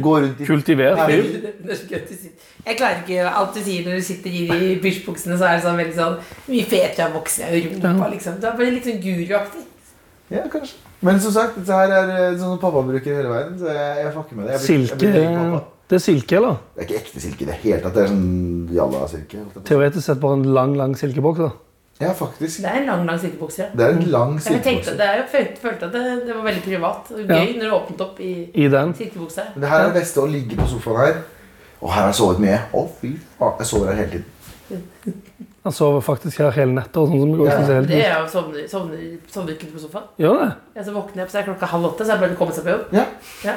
Speaker 4: Gå rundt i
Speaker 5: Kultivert
Speaker 4: Nei,
Speaker 5: liv.
Speaker 3: Jeg klarer ikke alt du sier når du sitter i de pysjbuksene, så er det sånn veldig sånn mye fetere av voksne i Europa, liksom. Da blir det litt sånn guruaktig.
Speaker 4: Ja, kanskje. Men som sagt, dette her er eh, sånn som pappa bruker hele veien. Så jeg, jeg fucker med det. Jeg blir- jeg
Speaker 5: Silke
Speaker 4: blir lik pappa.
Speaker 5: Det er silke, eller?
Speaker 4: Det er ikke ekte silke i det hele tatt. Det er sånn jalla silke. holdt jeg på å si.
Speaker 5: Teoretisk sett bare en lang, lang silkeboks. da.
Speaker 4: Ja, faktisk.
Speaker 3: Det er en lang, lang sittebukse.
Speaker 4: Det er en lang
Speaker 3: Jeg tenkte,
Speaker 4: sittepose.
Speaker 3: det er jo, følte, følte at det, det var veldig privat og gøy når det åpnet opp i
Speaker 5: i den.
Speaker 3: sittebukse.
Speaker 4: Men det her er det beste å ligge på sofaen her. Og her har jeg sovet mye. Å, fy faen. Jeg sover her hele tiden.
Speaker 5: Han sover faktisk her hele nettet. og sånn som jeg går synes er helt
Speaker 3: Det
Speaker 5: vilt.
Speaker 3: er jo sovner, sovner, sovner ikke du på sofaen.
Speaker 5: Gjør det?
Speaker 3: Jeg så våkner jeg opp, så er klokka halv åtte, så er det bare å komme seg på jobb.
Speaker 4: Ja.
Speaker 3: Ja.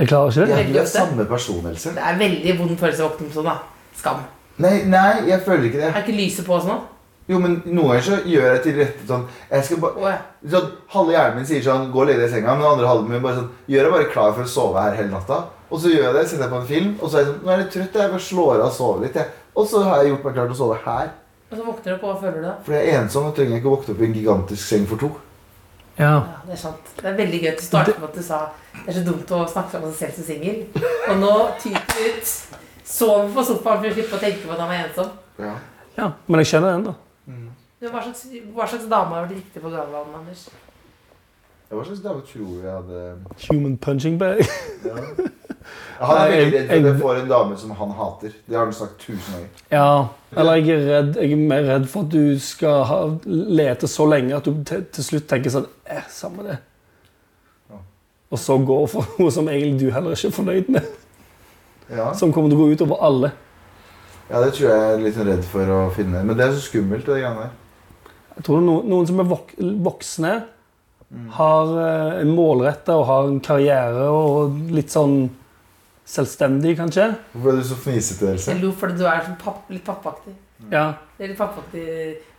Speaker 5: Jeg klarer ikke det.
Speaker 4: ja du er samme person, Else.
Speaker 3: Det er veldig vond følelse å våkne opp sånn, da. Skam.
Speaker 4: Nei, nei, jeg føler ikke det.
Speaker 3: Er ikke lyset på og sånn?
Speaker 4: Jo, men noen ganger så gjør jeg til rette sånn Jeg skal bare
Speaker 3: Å, ja.
Speaker 4: Sånn, Halve hjernen min sier sånn Gå og legg deg i senga. Men den andre halven min bare sånn Gjør jeg bare klar for å sove her hele natta. Og så gjør jeg det, setter jeg på en film, og så er jeg sånn Nå er jeg trøtt, jeg bare slår av og sover litt, jeg. Og så har jeg gjort meg klar til å sove her.
Speaker 3: Og så våkner du opp, og hva føler du da?
Speaker 4: For jeg er ensom og trenger ikke å våkne opp i en gigantisk seng for to.
Speaker 5: Ja.
Speaker 3: Ja, det er sant. Det er veldig gøy at du startet med at du sa det er så dumt å snakke om seg selv som singel. Og nå tyter det ut. Sover på sofaen for å slippe å tenke på at han er ensom.
Speaker 4: Ja.
Speaker 5: ja. Men jeg kjenner den, da.
Speaker 3: Du, Hva slags, hva slags dame har vært riktig på gavevalget, Anders?
Speaker 4: Hva slags dame tror jeg hadde ja.
Speaker 5: Human punching bag.
Speaker 4: Han er
Speaker 5: Nei,
Speaker 4: veldig redd for at
Speaker 5: jeg-
Speaker 4: jeg får en dame som han hater. Det har han sagt tusen ganger.
Speaker 5: (laughs) Ja. Eller jeg er redd Jeg er mer redd for at du skal ha, lete så lenge at du te- til slutt tenker sånn eh, Samme det. Og så går for (laughs) noe som egentlig du heller ikke er fornøyd med.
Speaker 4: Ja.
Speaker 5: Som kommer til å gå ut over alle.
Speaker 4: ja, det tror jeg jeg er litt redd for å finne. Men det er så skummelt, det greiene der.
Speaker 5: Jeg tror noen, noen som er vok voksne, har eh, en målretta og har en karriere og litt sånn selvstendig, kanskje.
Speaker 4: Hvorfor er du så fnisete, Else?
Speaker 3: Jeg lo fordi du er sånn papp, litt pappaktig.
Speaker 5: Ja.
Speaker 3: Det er litt pappaktig.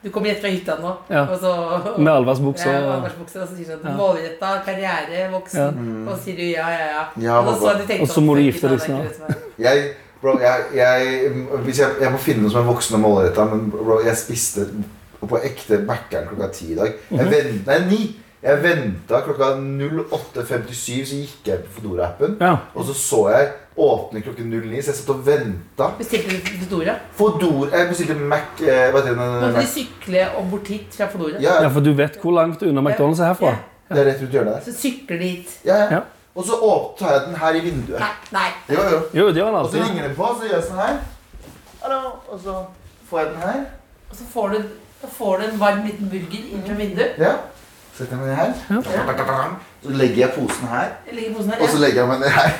Speaker 3: Du kommer rett fra hytta nå,
Speaker 5: Ja.
Speaker 3: og så
Speaker 5: Med allværsbukse
Speaker 3: Ja,
Speaker 5: og
Speaker 3: aldersbukser, og så sier du
Speaker 5: Ja.
Speaker 3: sånn målretta, karriere, voksen.
Speaker 5: Ja.
Speaker 3: Og så sier du ja, ja, ja.
Speaker 4: Mm. Ja,
Speaker 3: og, så
Speaker 4: pappa.
Speaker 3: du tenkt
Speaker 5: Og så
Speaker 3: at
Speaker 5: må du
Speaker 3: det er
Speaker 5: gifte
Speaker 3: ikke
Speaker 5: deg
Speaker 3: sånn, det er ikke sånn.
Speaker 4: Jeg, bro, jeg, jeg, hvis jeg, jeg må finne noe som er voksen og målretta, men bro, jeg spiste på ekte Mækkern klokka ti i dag.
Speaker 5: Mhm.
Speaker 4: Jeg vent, nei, ni! Jeg venta klokka 08.57, så gikk jeg på Fodora-appen.
Speaker 5: Ja.
Speaker 4: Og så så jeg åpne klokken 09, så jeg satt og venta.
Speaker 3: Bestilte du Fodora?
Speaker 4: Fodora Jeg bestilte Mac eh, Hva heter den?
Speaker 3: Måtte de
Speaker 4: Mac.
Speaker 3: sykle og bort hit fra Fodora?
Speaker 4: Ja,
Speaker 5: ja, for du vet hvor langt unna McDonald's er herfra.
Speaker 3: Ja.
Speaker 4: det er rett rundt hjørnet der.
Speaker 3: Så sykler de hit.
Speaker 4: Ja,
Speaker 5: Ja.
Speaker 4: ja. Og så åp- tar jeg den her i vinduet.
Speaker 3: Nei, nei.
Speaker 4: Jo, jo.
Speaker 5: Jo, det har han
Speaker 4: Og så
Speaker 5: alltid.
Speaker 4: ringer den på, så gjør jeg sånn her. Hallo. Og så får jeg den her.
Speaker 3: Og så får du, så får du en varm liten burger inn fra vinduet.
Speaker 4: Ja. Setter jeg meg ned her. Så legger jeg posen her,
Speaker 3: Jeg legger posen her,
Speaker 4: og
Speaker 3: ja.
Speaker 4: så legger jeg meg ned her.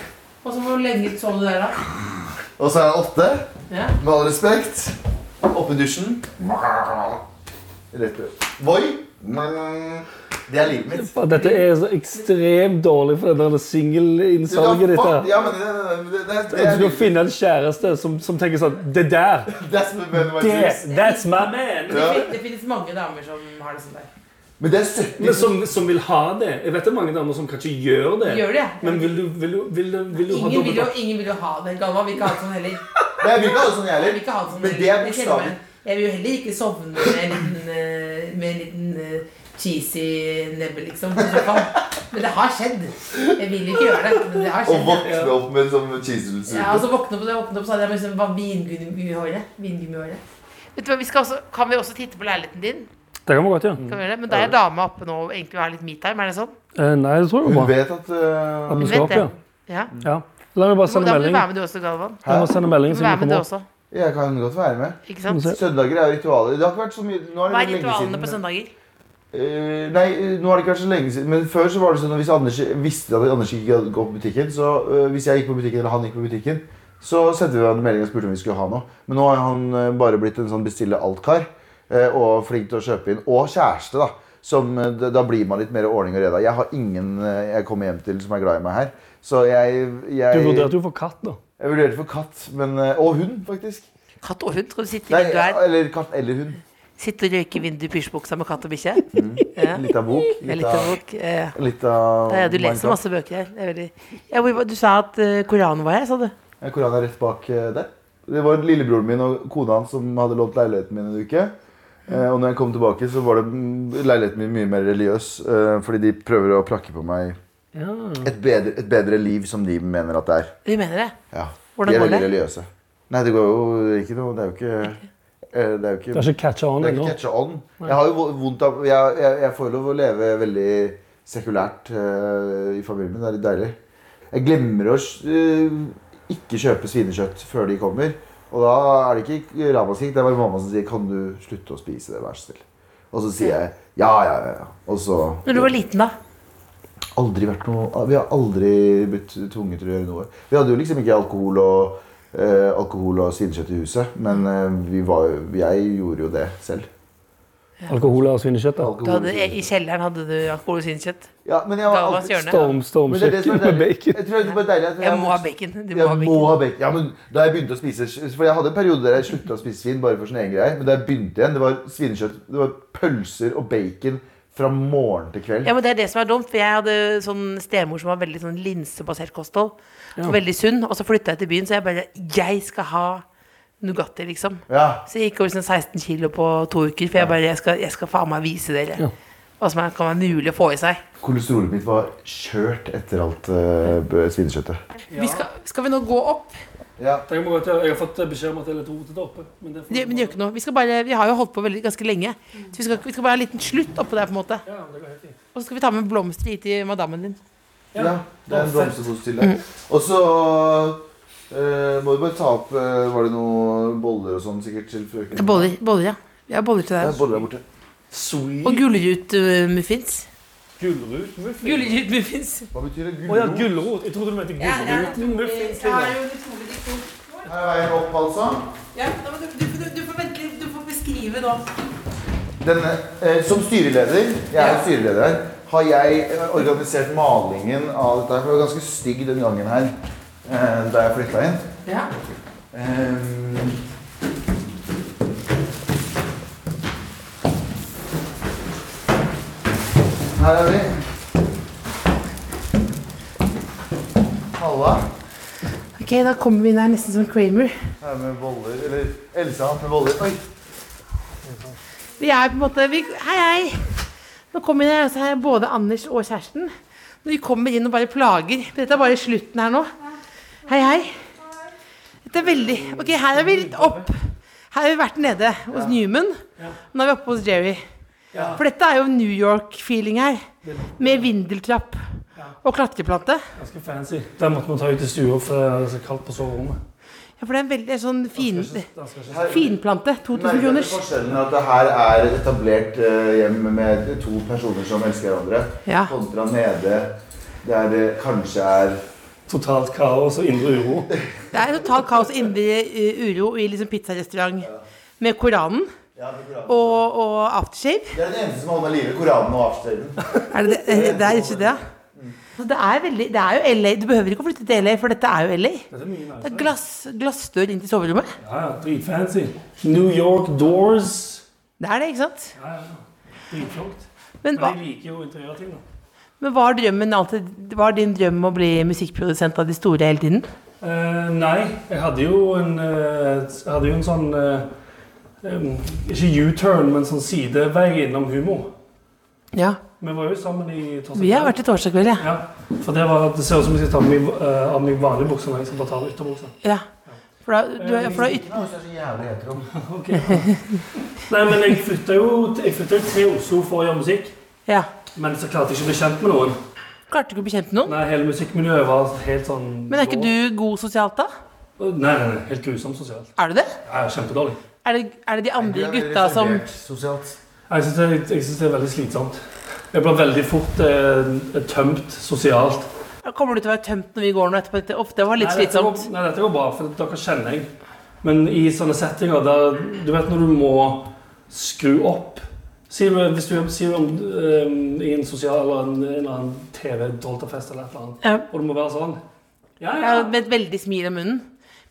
Speaker 3: Og så hvor lenge sov du der, da?
Speaker 4: Og så er jeg åtte.
Speaker 3: Ja.
Speaker 4: Med all respekt. Opp i dusjen. Rett ut. Voi. eh, Det er livet mitt.
Speaker 5: Dette er så ekstremt dårlig for det der singelinnsalget ditt. her.
Speaker 4: Ja, men det, det, det, det,
Speaker 5: At
Speaker 4: det,
Speaker 5: du skal
Speaker 4: det,
Speaker 5: finne en kjæreste som, som tenker sånn Det der!
Speaker 4: That's my man, my
Speaker 5: Det,
Speaker 4: juice.
Speaker 5: that's my man!
Speaker 3: Det,
Speaker 4: Ja.
Speaker 3: fin- det finnes mange damer som har det sånn der.
Speaker 4: Men det er liksom. 70
Speaker 5: Men som, som vil ha det. Jeg vet det er mange damer som kanskje gjør det.
Speaker 3: Gjør det, ja.
Speaker 5: Men vil du, vil du, vil du, vil du ha
Speaker 3: Ingen vil, jo, ingen vil jo ha den gamma. Vil ikke ha det sånn heller.
Speaker 4: Nei, Jeg vil ikke ha det sånn, jeg
Speaker 3: Jeg vil
Speaker 4: heller.
Speaker 3: ikke ha det sånn
Speaker 4: Men det er
Speaker 3: heller. Jeg kjenner
Speaker 4: bokstavelig.
Speaker 3: meg- Jeg vil jo heller ikke sovne med en liten, eh, med en liten eh, cheesy nebbe, liksom. på sofaen. Men det har skjedd. Jeg vil ikke gjøre det, men det har
Speaker 4: Å
Speaker 3: skjedd. ja.
Speaker 4: våkne opp med sånn cheesesuppe.
Speaker 3: Ja, og så våkne opp, og så våkne opp, så hadde jeg liksom bare vingummi i håret. Vingummi i håret.
Speaker 7: Vet du hva, vi skal også, Kan vi også titte på leiligheten din?
Speaker 5: Det kan man godt gjøre.
Speaker 7: Kan vi gjøre det? Men da er dama oppe nå og egentlig vil ha litt metime, er det sånn?
Speaker 5: Eh, nei, det tror jeg
Speaker 4: Hun
Speaker 5: var bra.
Speaker 4: vet at øh,
Speaker 5: At du
Speaker 7: Vet
Speaker 5: skal opp,
Speaker 7: det.
Speaker 5: ja.
Speaker 7: Ja.
Speaker 5: ja. La
Speaker 7: Da
Speaker 5: meg bare
Speaker 7: må
Speaker 5: sende
Speaker 7: du
Speaker 5: melding.
Speaker 7: være med du også, Galvan.
Speaker 5: La meg sende melding
Speaker 7: Du må
Speaker 5: så vi
Speaker 7: være med
Speaker 5: kommer
Speaker 7: du
Speaker 5: opp.
Speaker 7: også.
Speaker 4: Jeg kan godt være med.
Speaker 7: Ikke sant?
Speaker 5: Ja.
Speaker 4: Søndager er jo ritualer. Det har ikke vært så mye Nå
Speaker 7: Hva
Speaker 4: er det
Speaker 7: er
Speaker 4: lenge
Speaker 7: ritualene
Speaker 4: siden.
Speaker 7: på søndager?
Speaker 4: Eh, nei, eh, nå har det ikke vært så lenge siden. Men før så var det sånn at hvis Anders visste at Anders ikke gadd gå på butikken, så eh, hvis jeg gikk på butikken eller han gikk på butikken, så sendte vi hverandre melding og spurte om vi skulle ha noe. Men nå har han eh, bare blitt en sånn bestille alt-kar. eh, og flink til å kjøpe inn. Og kjæreste, da. Som, eh, da- da blir man litt mer ordning og reda. Jeg har ingen eh, jeg kommer hjem til som er glad i meg her. Så jeg,
Speaker 5: Du
Speaker 4: jeg, jeg
Speaker 5: vurderte jo for katt, da.
Speaker 4: vurderte for katt. Men, eh, og hund, faktisk.
Speaker 7: Katt og hund? Skal du sitte i
Speaker 4: Nei,
Speaker 7: vinduet her?
Speaker 4: eller katt eller hund.
Speaker 7: Sitte og røyke i vinduet i pysjbuksa med katt og bikkje? Ja.
Speaker 4: Litt av bok.
Speaker 7: Det er
Speaker 4: Litt
Speaker 7: litt av
Speaker 4: av,
Speaker 7: bok. eh,
Speaker 4: litt av
Speaker 7: Ja, ja, du leser
Speaker 4: Minecraft.
Speaker 7: masse bøker her. Det er veldig... ja, hvor var- du sa at eh, Koranen var her, sa du?
Speaker 4: Ja, Koranen er rett bak eh, der. Det var lillebroren min og kona hans som hadde lånt leiligheten min en uke. Eh, og når jeg kom tilbake, så var det mm, leiligheten min mye mer religiøs. Eh, fordi de prøver å prakke på meg et bedre, et bedre liv, som de mener at det er.
Speaker 7: Vi mener det.
Speaker 4: Ja.
Speaker 7: Hvordan
Speaker 4: de er
Speaker 7: går
Speaker 4: veldig
Speaker 7: det?
Speaker 4: religiøse. Nei, det går jo ikke noe Det er jo ikke eh, Det er jo
Speaker 5: Det
Speaker 4: ikke,
Speaker 5: har ikke catcha on
Speaker 4: det Sånn er ikke
Speaker 5: ennå.
Speaker 4: catcha on. Jeg har jo vo- vondt av Jeg, jeg, jeg får jo lov å leve veldig sekulært eh, i familien min. Det er litt deilig. Jeg glemmer å eh, ikke kjøpe svinekjøtt før de kommer. Og da er det ikke ramaskrik, det er bare mamma som sier 'Kan du slutte å spise det, vær så snill'? Og så sier jeg ja, ja, ja. ja. Og så
Speaker 3: Når du var liten, da?
Speaker 4: aldri vært noe Vi har aldri blitt tvunget til å gjøre noe. Vi hadde jo liksom ikke alkohol og eh, Alkohol og svinekjøtt i huset, men eh, vi var, jo- jeg gjorde jo det selv.
Speaker 5: Alkohol og svinekjøtt. da.
Speaker 3: Du hadde, I kjelleren hadde du alkohol og svinkjøtt?
Speaker 4: Ja, men jeg var
Speaker 3: Dalvas
Speaker 4: alltid-
Speaker 3: hjørne?
Speaker 5: Storm, storm,
Speaker 4: Men det er det som
Speaker 5: kjøkken
Speaker 4: er
Speaker 5: med
Speaker 4: deilig.
Speaker 5: bacon.
Speaker 4: Jeg tror det er bare deilig at
Speaker 3: Jeg må ha bacon. Du må
Speaker 4: Jeg
Speaker 3: ha
Speaker 4: må
Speaker 3: bacon.
Speaker 4: ha bacon. Ja, men da jeg begynte å spise For jeg hadde en periode der jeg slutta å spise svin bare for sin egen greie. Men da jeg begynte igjen, det var svinekjøtt, det var pølser og bacon fra morgen til kveld.
Speaker 3: Ja, men Det er det som er dumt, for jeg hadde sånn stemor som var veldig sånn linsebasert kosthold. Og veldig sunn. Og så flytta jeg til byen, så jeg bare Jeg skal ha Nugatti, liksom.
Speaker 4: Ja.
Speaker 3: Så jeg gikk over sånn 16 kilo på to uker, for jeg bare Jeg skal, jeg skal faen meg vise dere
Speaker 5: Ja.
Speaker 3: hva som er, kan være mulig å få i seg.
Speaker 4: Kolesterolet mitt var kjørt etter alt eh, b- svinekjøttet.
Speaker 8: Vi skal, skal vi nå gå opp?
Speaker 4: Ja.
Speaker 5: Jeg har fått beskjed om at det er litt rotete oppe. Men det
Speaker 3: Det, men det gjør ikke noe. Vi, skal bare, vi har jo holdt på veldig, ganske lenge. Så vi skal, vi skal bare ha en liten slutt oppå der, på en måte. Og så skal vi ta med blomster hit til madammen din.
Speaker 4: ja. Det er en blomsterpose til deg. Og så eh, må du bare ta opp eh, Var det noen boller og sånn sikkert til frøken?
Speaker 3: Boller, boller ja. Vi har boller til
Speaker 4: Ja,
Speaker 3: deg.
Speaker 4: boller der borte.
Speaker 5: Sweet
Speaker 3: Og gulrotmuffins.
Speaker 5: gulrotmuffins.
Speaker 3: Gulrotmuffins.
Speaker 4: Hva betyr det?
Speaker 5: Å ja,
Speaker 4: Gulrot?
Speaker 5: gulrot. Jeg trodde du mente gulrotmuffins.
Speaker 8: jo utrolig dikt
Speaker 4: Her er veien opp, altså.
Speaker 8: Ja, nei, men du, du, du, du, får vente litt, du får beskrive nå.
Speaker 4: Denne, eh, som styreleder, jeg er jo styreleder her, har jeg eh, organisert malingen av dette. her, For jeg var ganske stygg den gangen her eh, da jeg flytta inn.
Speaker 8: Ja.
Speaker 4: Ehm, her er vi. Halla.
Speaker 3: Ok, da kommer vi inn her nesten som Kramer.
Speaker 4: Her med boller. Eller Elsa har hatt med boller. Oi.
Speaker 3: Vi er på en måte vi, Hei, hei! Nå kommer vi inn her, og så er både Anders og Kjersten. Når vi kommer inn og bare plager. Men Dette er bare slutten her nå. Hei, hei. Dette er veldig Ok, her er vi litt opp. Her har vi vært nede hos Newman. Nå er vi oppe hos Jerry. For dette er jo New York-feeling her. Med vindeltrapp og klatreplante.
Speaker 5: Ganske fancy. Den måtte man ta ut i stua, for det er så kaldt på soverommet.
Speaker 3: Ja, for det er en veldig sånn fin,
Speaker 5: Den skal ikke
Speaker 3: finplante. 2000
Speaker 4: Merker
Speaker 3: kroner.
Speaker 4: dere forskjellen at det her er et etablert eh, hjem med to personer som elsker hverandre?
Speaker 3: Ja.
Speaker 4: Kontra nede der det kanskje er
Speaker 5: Totalt kaos og indre uro.
Speaker 3: Det er totalt kaos og indre uh, uro i liksom pizzarestaurant med Koranen og, og aftershave.
Speaker 4: Det er den eneste som holder med live, Koranen og avstanden.
Speaker 3: Er det det? Det er ikke det? Så Det er, veldig, det er jo LA. Du behøver ikke å flytte til LA, for dette er jo LA.
Speaker 5: Dette er mye
Speaker 3: Det
Speaker 5: nice.
Speaker 3: er glass, glassdør inn til soverommet.
Speaker 5: Ja, ja, dritfancy. New York doors.
Speaker 3: Det er det, ikke sant?
Speaker 5: Ja, ja. Dritflott.
Speaker 3: Men, hva,
Speaker 5: Men jeg liker jo interiørting, da.
Speaker 3: men var, drømmen alltid, var din drøm å bli musikkprodusent av de store hele tiden?
Speaker 5: Eh, nei, jeg hadde jo en, eh, jeg hadde jo en sånn eh, em, Ikke U-turn, men sånn sidevei innom humor.
Speaker 3: Ja.
Speaker 5: Vi var jo sammen i torsdag
Speaker 3: Vi har vært i torsdag kveld, ja.
Speaker 5: Ja, for det, var, det ser ut som jeg skal ta av meg, eh, av meg vanlige bukser når jeg skal bare ta av ytterbuksa.
Speaker 3: ja. For da, du, er- for da yt-
Speaker 5: Ok. Nei, men jeg flytta jo jeg flytta jo til Oslo for å gjøre musikk.
Speaker 3: ja.
Speaker 5: Men så klarte jeg ikke å bli kjent med noen.
Speaker 3: Klarte du ikke å bli kjent med noen?
Speaker 5: Nei, Hele musikkmiljøet var helt sånn
Speaker 3: Men er ikke du god sosialt, da?
Speaker 5: Nei, nei, nei, helt grusomt sosialt.
Speaker 3: Er du det?
Speaker 5: Jeg er kjempedårlig.
Speaker 3: Er det, er det de andre gutta som
Speaker 4: Sosialt.
Speaker 5: Jeg syns det, jeg synes det er veldig slitsomt. Jeg blir veldig fort eh, tømt sosialt.
Speaker 3: Kommer du til å være tømt når vi går nå etterpå? Dette- Uff, det var litt
Speaker 5: Nei, dette
Speaker 3: slitsomt.
Speaker 5: går- Nei, dette går bra, for dere kjenner jeg. Men i sånne settinger der Du vet når du må skru opp Si du- hvis du sier om ehm, i en sosial eller en, en eller annen TV-dolterfest eller et eller annet,
Speaker 3: Ja,
Speaker 5: og det må være sånn Ja,
Speaker 3: jeg
Speaker 5: ja.
Speaker 3: har Med et veldig smil om munnen.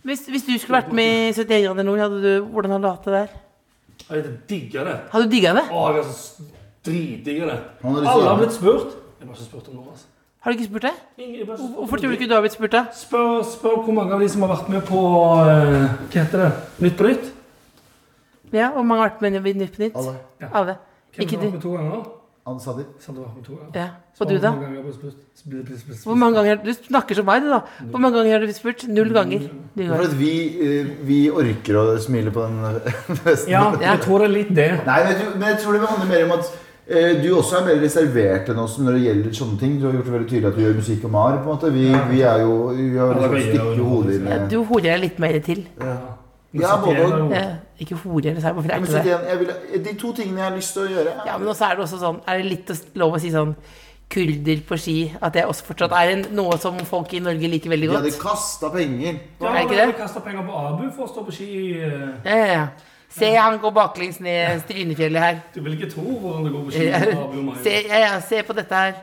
Speaker 3: Hvis, hvis du skulle vært med i 71 grader nord, hadde du, hvordan hadde du hatt det der?
Speaker 5: Jeg digger det.
Speaker 3: Hadde du digga det?
Speaker 5: Å, jeg er så dritdigger det.
Speaker 4: Han har lyst til å
Speaker 5: Alle
Speaker 4: være
Speaker 5: har
Speaker 4: med.
Speaker 5: blitt spurt. Jeg har ikke spurt om noe. altså.
Speaker 3: Har du ikke spurt det?
Speaker 5: Ingen- jeg bare-
Speaker 3: Hvorfor tror du ikke du har blitt spurt, da?
Speaker 5: Spør, spør hvor mange av de som har vært med på eh, Hva heter det? Nytt på nytt?
Speaker 3: Ja, Hvor mange har vært med i Nytt på Nytt?
Speaker 4: Alle.
Speaker 3: Alle.
Speaker 5: Hvem
Speaker 3: Ikke
Speaker 5: har
Speaker 3: du.
Speaker 5: vært med to ganger?
Speaker 4: Ansatte.
Speaker 5: Sander har vært med to ganger.
Speaker 3: Ja. Og du, da?
Speaker 5: Hvor mange ganger har du spurt? Blir- blir- blir-
Speaker 3: Hvor mange ganger, Du snakker som meg, du, da. Hvor mange ganger har du blitt spurt? Null ganger. Null
Speaker 4: For
Speaker 3: ganger.
Speaker 4: at vi, eh, vi orker å smile på den (laughs) festen.
Speaker 5: Ja, jeg tror det er litt det.
Speaker 4: Nei, men jeg, tror, men jeg tror det handler mer om at eh, du også er mer reservert enn oss når det gjelder sånne ting. Du har gjort det veldig tydelig at du gjør musikk og mar. på en måte. Vi, vi er jo Vi har liksom
Speaker 5: Ja, det er gøy å
Speaker 4: stikker hodet
Speaker 5: underholde
Speaker 4: inn
Speaker 3: Ja,
Speaker 4: i
Speaker 3: du horer deg litt mer til.
Speaker 4: Ja, både og.
Speaker 3: Eh, Ikke hore eller sauer, hvorfor
Speaker 4: Ja,
Speaker 3: er
Speaker 4: men
Speaker 3: ikke det?
Speaker 4: 71, jeg vil, de to tingene jeg har lyst til å gjøre
Speaker 3: Ja, men også er det også sånn Er det litt å s- lov å si sånn kurder på ski? At det også fortsatt er en, noe som folk i Norge liker veldig
Speaker 4: De hadde
Speaker 3: godt?
Speaker 4: kasta penger.
Speaker 3: Er det ikke det?
Speaker 5: Kasta penger på Abu for å stå på ski. eh,
Speaker 3: Ja, ja, ja. Se, han går baklengs ned Strynefjellet her.
Speaker 5: Du vil ikke tro hvordan det går på ski. med Abu og
Speaker 3: Ja,
Speaker 5: Mayo.
Speaker 3: se, ja, ja, se på dette her.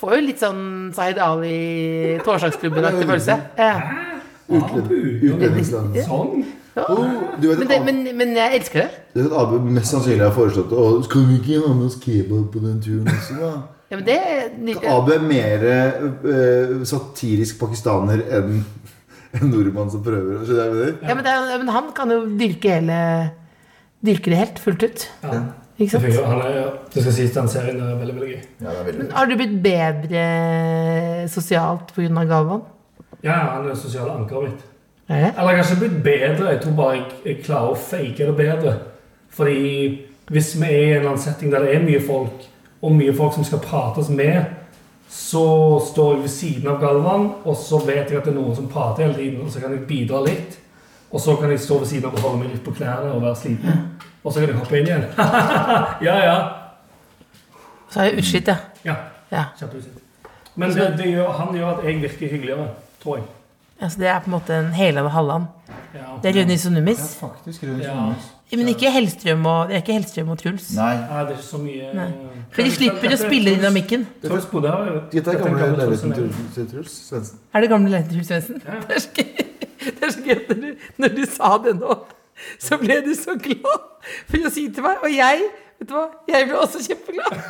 Speaker 3: Får jo litt sånn Zaid Ali Torsdagsklubben-aktig følelse. Ja.
Speaker 5: Abu, ja, det
Speaker 4: Utlendingsland.
Speaker 5: er sånn.
Speaker 4: Oh, du vet
Speaker 3: Men,
Speaker 4: at
Speaker 3: det,
Speaker 4: Ab-
Speaker 3: men, men jeg elsker det.
Speaker 4: du vet at Abu mest sannsynlig har foreslått å Skal vi ikke ha med oss kebab på den turen også, da?
Speaker 3: (laughs) Ja, men det nyter jeg.
Speaker 4: Abu er mer eh, satirisk pakistaner enn en nordmann som prøver. Skjønner du hva jeg mener?
Speaker 3: Ja, men, det, er- ja, men han kan jo dyrke hele Dyrke det helt, fullt ut. Ikke
Speaker 5: Det
Speaker 3: sant?
Speaker 5: fungerer. Han er, det skal sies, den serien er veldig, veldig gøy.
Speaker 4: Ja, det er veldig
Speaker 3: Har du blitt bedre sosialt pga. Galvan?
Speaker 5: Ja, han er det sosiale ankeret mitt.
Speaker 3: Er det?
Speaker 5: Eller jeg har ikke blitt bedre. Jeg tror bare jeg, jeg klarer å fake det bedre. Fordi hvis vi er i en eller annen setting der det er mye folk, og mye folk som skal prates med, så står jeg ved siden av Galvan, og så vet jeg at det er noen som prater hele tiden, og så kan jeg bidra litt. Og så kan jeg stå ved siden av og holde meg litt på knærne og være sliten. Og så kan jeg hoppe inn igjen. (laughs) ja, ja.
Speaker 3: Så er jeg utslitt, ja.
Speaker 5: ja.
Speaker 3: ja.
Speaker 5: Kjempeutslitt. Men det, det gjør, han gjør at jeg virker hyggeligere, tror jeg.
Speaker 3: Altså, det er på en måte en Helan og Halland.
Speaker 5: Ja.
Speaker 3: Det er Rune Isonumis.
Speaker 4: Faktisk Rune
Speaker 5: Ja.
Speaker 4: Solnes.
Speaker 3: Men ikke Hellstrøm og, det er ikke Hellstrøm og Truls.
Speaker 4: Nei.
Speaker 5: Nei, det er ikke så mye
Speaker 3: Nei. For de slipper å spille dynamikken.
Speaker 5: Truls bodde her. jo.
Speaker 4: Dette er
Speaker 5: Dette er
Speaker 4: gamle
Speaker 5: gamle Truls
Speaker 4: leiligheten til
Speaker 5: som er-
Speaker 4: til Truls Svendsen.
Speaker 3: Er det gamle leiligheten til Truls Svendsen? Det er så gøy- det er så gøy at når du, når du sa det nå, så ble du så glad for å si til meg. Og jeg, vet du hva, jeg ble også kjempeglad.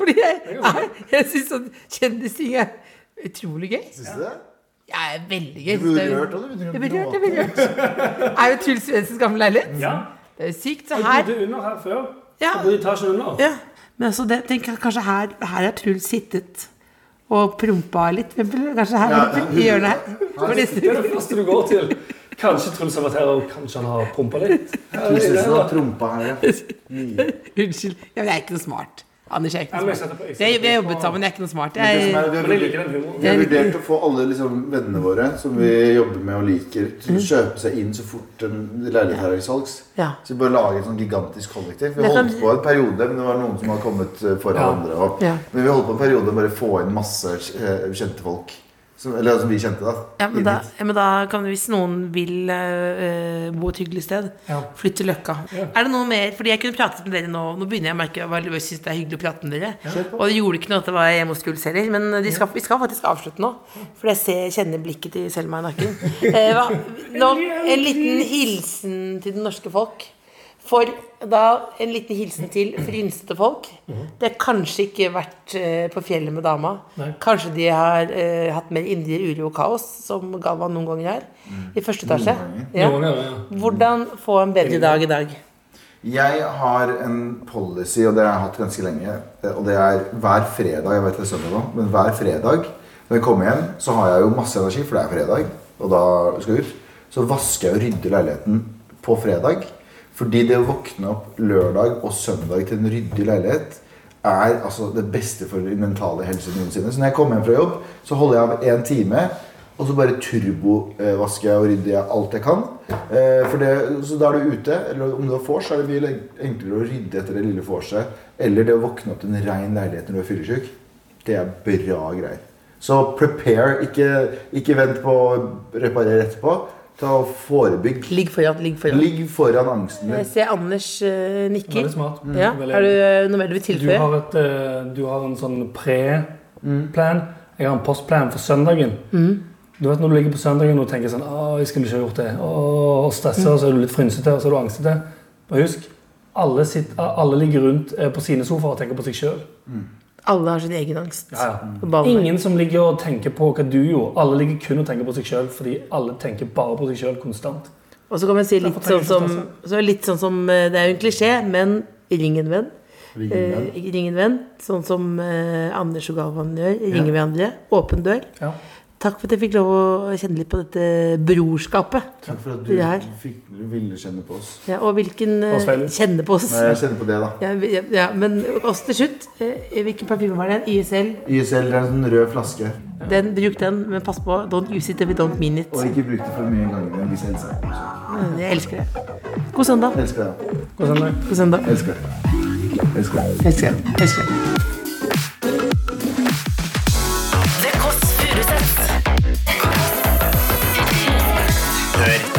Speaker 3: Fordi jeg, jeg, jeg syns sånn kjendisting er utrolig gøy.
Speaker 4: Syns du det?
Speaker 3: Jeg er veldig gøy.
Speaker 4: Du blir
Speaker 3: Det er jo-
Speaker 4: rørt av det.
Speaker 3: Jeg blir rørt, jeg blir rørt. Er jo Truls Svendsens gamle leilighet.
Speaker 5: Ja,
Speaker 3: Det er jo sykt. Så
Speaker 5: jeg
Speaker 3: her
Speaker 5: bodde under her før.
Speaker 3: Ja.
Speaker 5: Jeg bodde i etasjen under.
Speaker 3: Ja, men altså det, tenk at kanskje her, her er Truls sittet og prompa litt. for eksempel. Kanskje her, for eksempel, i hjørnet her. For
Speaker 5: Det
Speaker 3: neste-
Speaker 5: er det første du går til. Kanskje Truls har vært her, og kanskje han har pumpa litt. Ja, det er det,
Speaker 4: har
Speaker 5: da.
Speaker 4: trompa her, ja.
Speaker 3: (laughs) Unnskyld. Ja, men jeg er ikke noe smart. Anders, jeg er ikke
Speaker 5: Ja, men
Speaker 3: noe
Speaker 5: jeg
Speaker 3: smart.
Speaker 5: setter på- jeg
Speaker 3: Det,
Speaker 5: setter
Speaker 3: vi har
Speaker 5: på-
Speaker 3: jobbet sammen, jeg er ikke noe smart.
Speaker 4: Det
Speaker 3: Jeg,
Speaker 4: som er, vi har
Speaker 5: Men jeg
Speaker 4: vurdert-
Speaker 5: liker den humoren.
Speaker 4: vi har vurdert å få alle liksom, vennene våre som vi jobber med og liker, til å kjøpe seg inn så fort en leilighet her er i salgs.
Speaker 3: ja.
Speaker 4: Så vi bare lager et sånn gigantisk kollektiv. Vi
Speaker 3: Det kan-
Speaker 4: holdt på en periode, men det var noen som har kommet eh, foran
Speaker 5: Ja.
Speaker 4: andre. Og,
Speaker 3: Ja.
Speaker 4: Men vi holdt på en periode med å bare få inn masse eh, kjente folk. Som, eller som vi kjente, da.
Speaker 9: Ja, men
Speaker 4: inn
Speaker 9: da,
Speaker 4: hit.
Speaker 9: ja, men da kan du, hvis noen vil eh, eh, bo et hyggelig sted,
Speaker 5: Ja.
Speaker 9: flytte til Løkka. Er det noe mer, fordi jeg kunne pratet med dere nå, nå begynner jeg å merke hva jeg synes det er hyggelig å prate med dere. Og det gjorde ikke noe at det var hjemme hos Guls heller, men eh, de skal, vi skal faktisk avslutte nå. For jeg ser, kjenner blikket til Selma i nakken. Eh, hva, nå, en liten hilsen til det norske folk. For da en liten hilsen til frynsete folk.
Speaker 5: Mhm.
Speaker 9: De har kanskje ikke vært eh, på fjellet med dama. Kanskje de har eh, hatt mer indre uro og kaos, som Galvan noen ganger er. I første etasje. Ja.
Speaker 5: Mm. Noen ganger, ja.
Speaker 9: Hvordan få en bedre dag i dag?
Speaker 4: Jeg har en policy, og det har jeg hatt ganske lenge. Og det er hver fredag jeg vet det er søndag nå, men hver fredag når jeg kommer hjem, så har jeg jo masse energi, for det er fredag. Og da skal jeg ut. Så vasker jeg og rydder leiligheten på fredag. Fordi det å våkne opp lørdag og søndag til en ryddig leilighet er altså det beste for din mentale helse noensinne. Så når jeg kommer hjem fra jobb, så holder jeg av én time. Og så bare turbovasker jeg og rydder jeg alt jeg kan. Eh, for det, så da er du ute. Eller om du har vors, så er det mye enklere å rydde etter det lille vorset. Eller det å våkne opp til en rein leilighet når du er fyllesyk. Det er bra greier. Så prepare. Ikke, ikke vent på å reparere etterpå. Ta og Forebygg.
Speaker 9: Ligg foran, ligg foran.
Speaker 4: Ligg foran angsten
Speaker 9: Jeg
Speaker 4: din.
Speaker 9: ser Anders eh, nikker.
Speaker 5: Veldig smart. Mm,
Speaker 9: Ja,
Speaker 5: Veldig-
Speaker 9: Er du eh, noe mer du vil
Speaker 5: Du
Speaker 9: tilføye?
Speaker 5: har, et, eh, du har en sånn pre-plan. Jeg har en postplan for søndagen.
Speaker 9: Mm.
Speaker 5: Du vet Når du ligger på søndagen og tenker sånn Åh, jeg skulle ikke ha gjort det. Åh, og
Speaker 9: Mm.
Speaker 5: stresser, og så er du litt frynsete og så er du angstete. Og husk, alle, sitt- alle ligger rundt eh, på sine sofaer og tenker på seg sjøl.
Speaker 9: Alle har sin egen angst.
Speaker 5: Ja, ja.
Speaker 9: Og baller.
Speaker 5: Ingen som ligger og tenker på hva du gjorde. Alle ligger kun og tenker på seg sjøl, fordi alle tenker bare på seg sjøl konstant.
Speaker 9: Og så kan man si litt
Speaker 5: Derfor trenger
Speaker 9: sånn
Speaker 5: jeg
Speaker 9: som,
Speaker 5: ikke
Speaker 9: så litt sånn som eh, Det er jo en klisjé, men ring en venn.
Speaker 4: Ligg
Speaker 9: Eh,
Speaker 4: med.
Speaker 9: ring en venn. Sånn som eh, Anders og Galvan gjør. Ringe hverandre. Åpen dør.
Speaker 5: Ja.
Speaker 3: Takk for at jeg fikk lov å kjenne litt på dette brorskapet.
Speaker 10: Takk for at
Speaker 3: Det her.
Speaker 10: du fikk, du ville kjenne på oss.
Speaker 3: Ja, og hvilken eh,
Speaker 5: Oss felles.
Speaker 3: Kjenne på oss.
Speaker 10: Nei, jeg kjenner på det, da.
Speaker 3: Ja, vi- ja, ja, men oss til slutt. eh, Hvilken parfyme var det? ISL.
Speaker 10: ISL det er en sånn rød flaske.
Speaker 3: Den, bruk den, men pass på. Don't use it if you don't mean it.
Speaker 10: Og ikke bruk det for mye ganger hvis jeg elsker deg.
Speaker 3: Jeg elsker det. God søndag.
Speaker 10: Jeg Elsker deg.
Speaker 5: Hvordan er det?
Speaker 3: God søndag.
Speaker 10: Elsker deg. Elsker deg.
Speaker 3: Elsker det. Elsker det.
Speaker 2: The Kåss Furuseths.
Speaker 11: Hør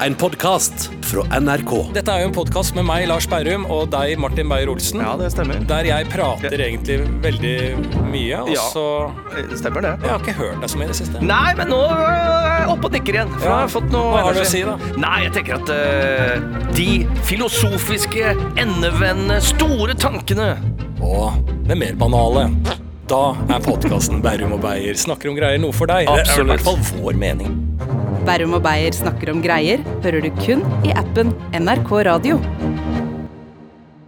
Speaker 12: En podkast fra NRK.
Speaker 13: Dette er jo en podkast med meg, Lars Berrum, og deg, Martin Beyer-Olsen.
Speaker 14: Ja, det stemmer.
Speaker 13: Der jeg prater egentlig veldig mye, og
Speaker 14: Ja.
Speaker 13: så
Speaker 14: Stemmer det.
Speaker 13: Jeg har ikke hørt deg så mye i det siste.
Speaker 14: Nei, men nå er jeg oppe og nikker igjen. for
Speaker 13: Ja,
Speaker 14: jeg har fått noe
Speaker 13: hva har du å
Speaker 14: energi.
Speaker 13: si da?
Speaker 14: Nei, jeg tenker at eh, de filosofiske, endevendende, store tankene
Speaker 13: Og det mer banale. Da er podkasten Berrum og Beyer snakker om greier noe for deg. Det er i
Speaker 14: Absolutt.
Speaker 13: hvert fall vår mening.
Speaker 15: Berrum og Beyer snakker om greier hører du kun i appen NRK Radio.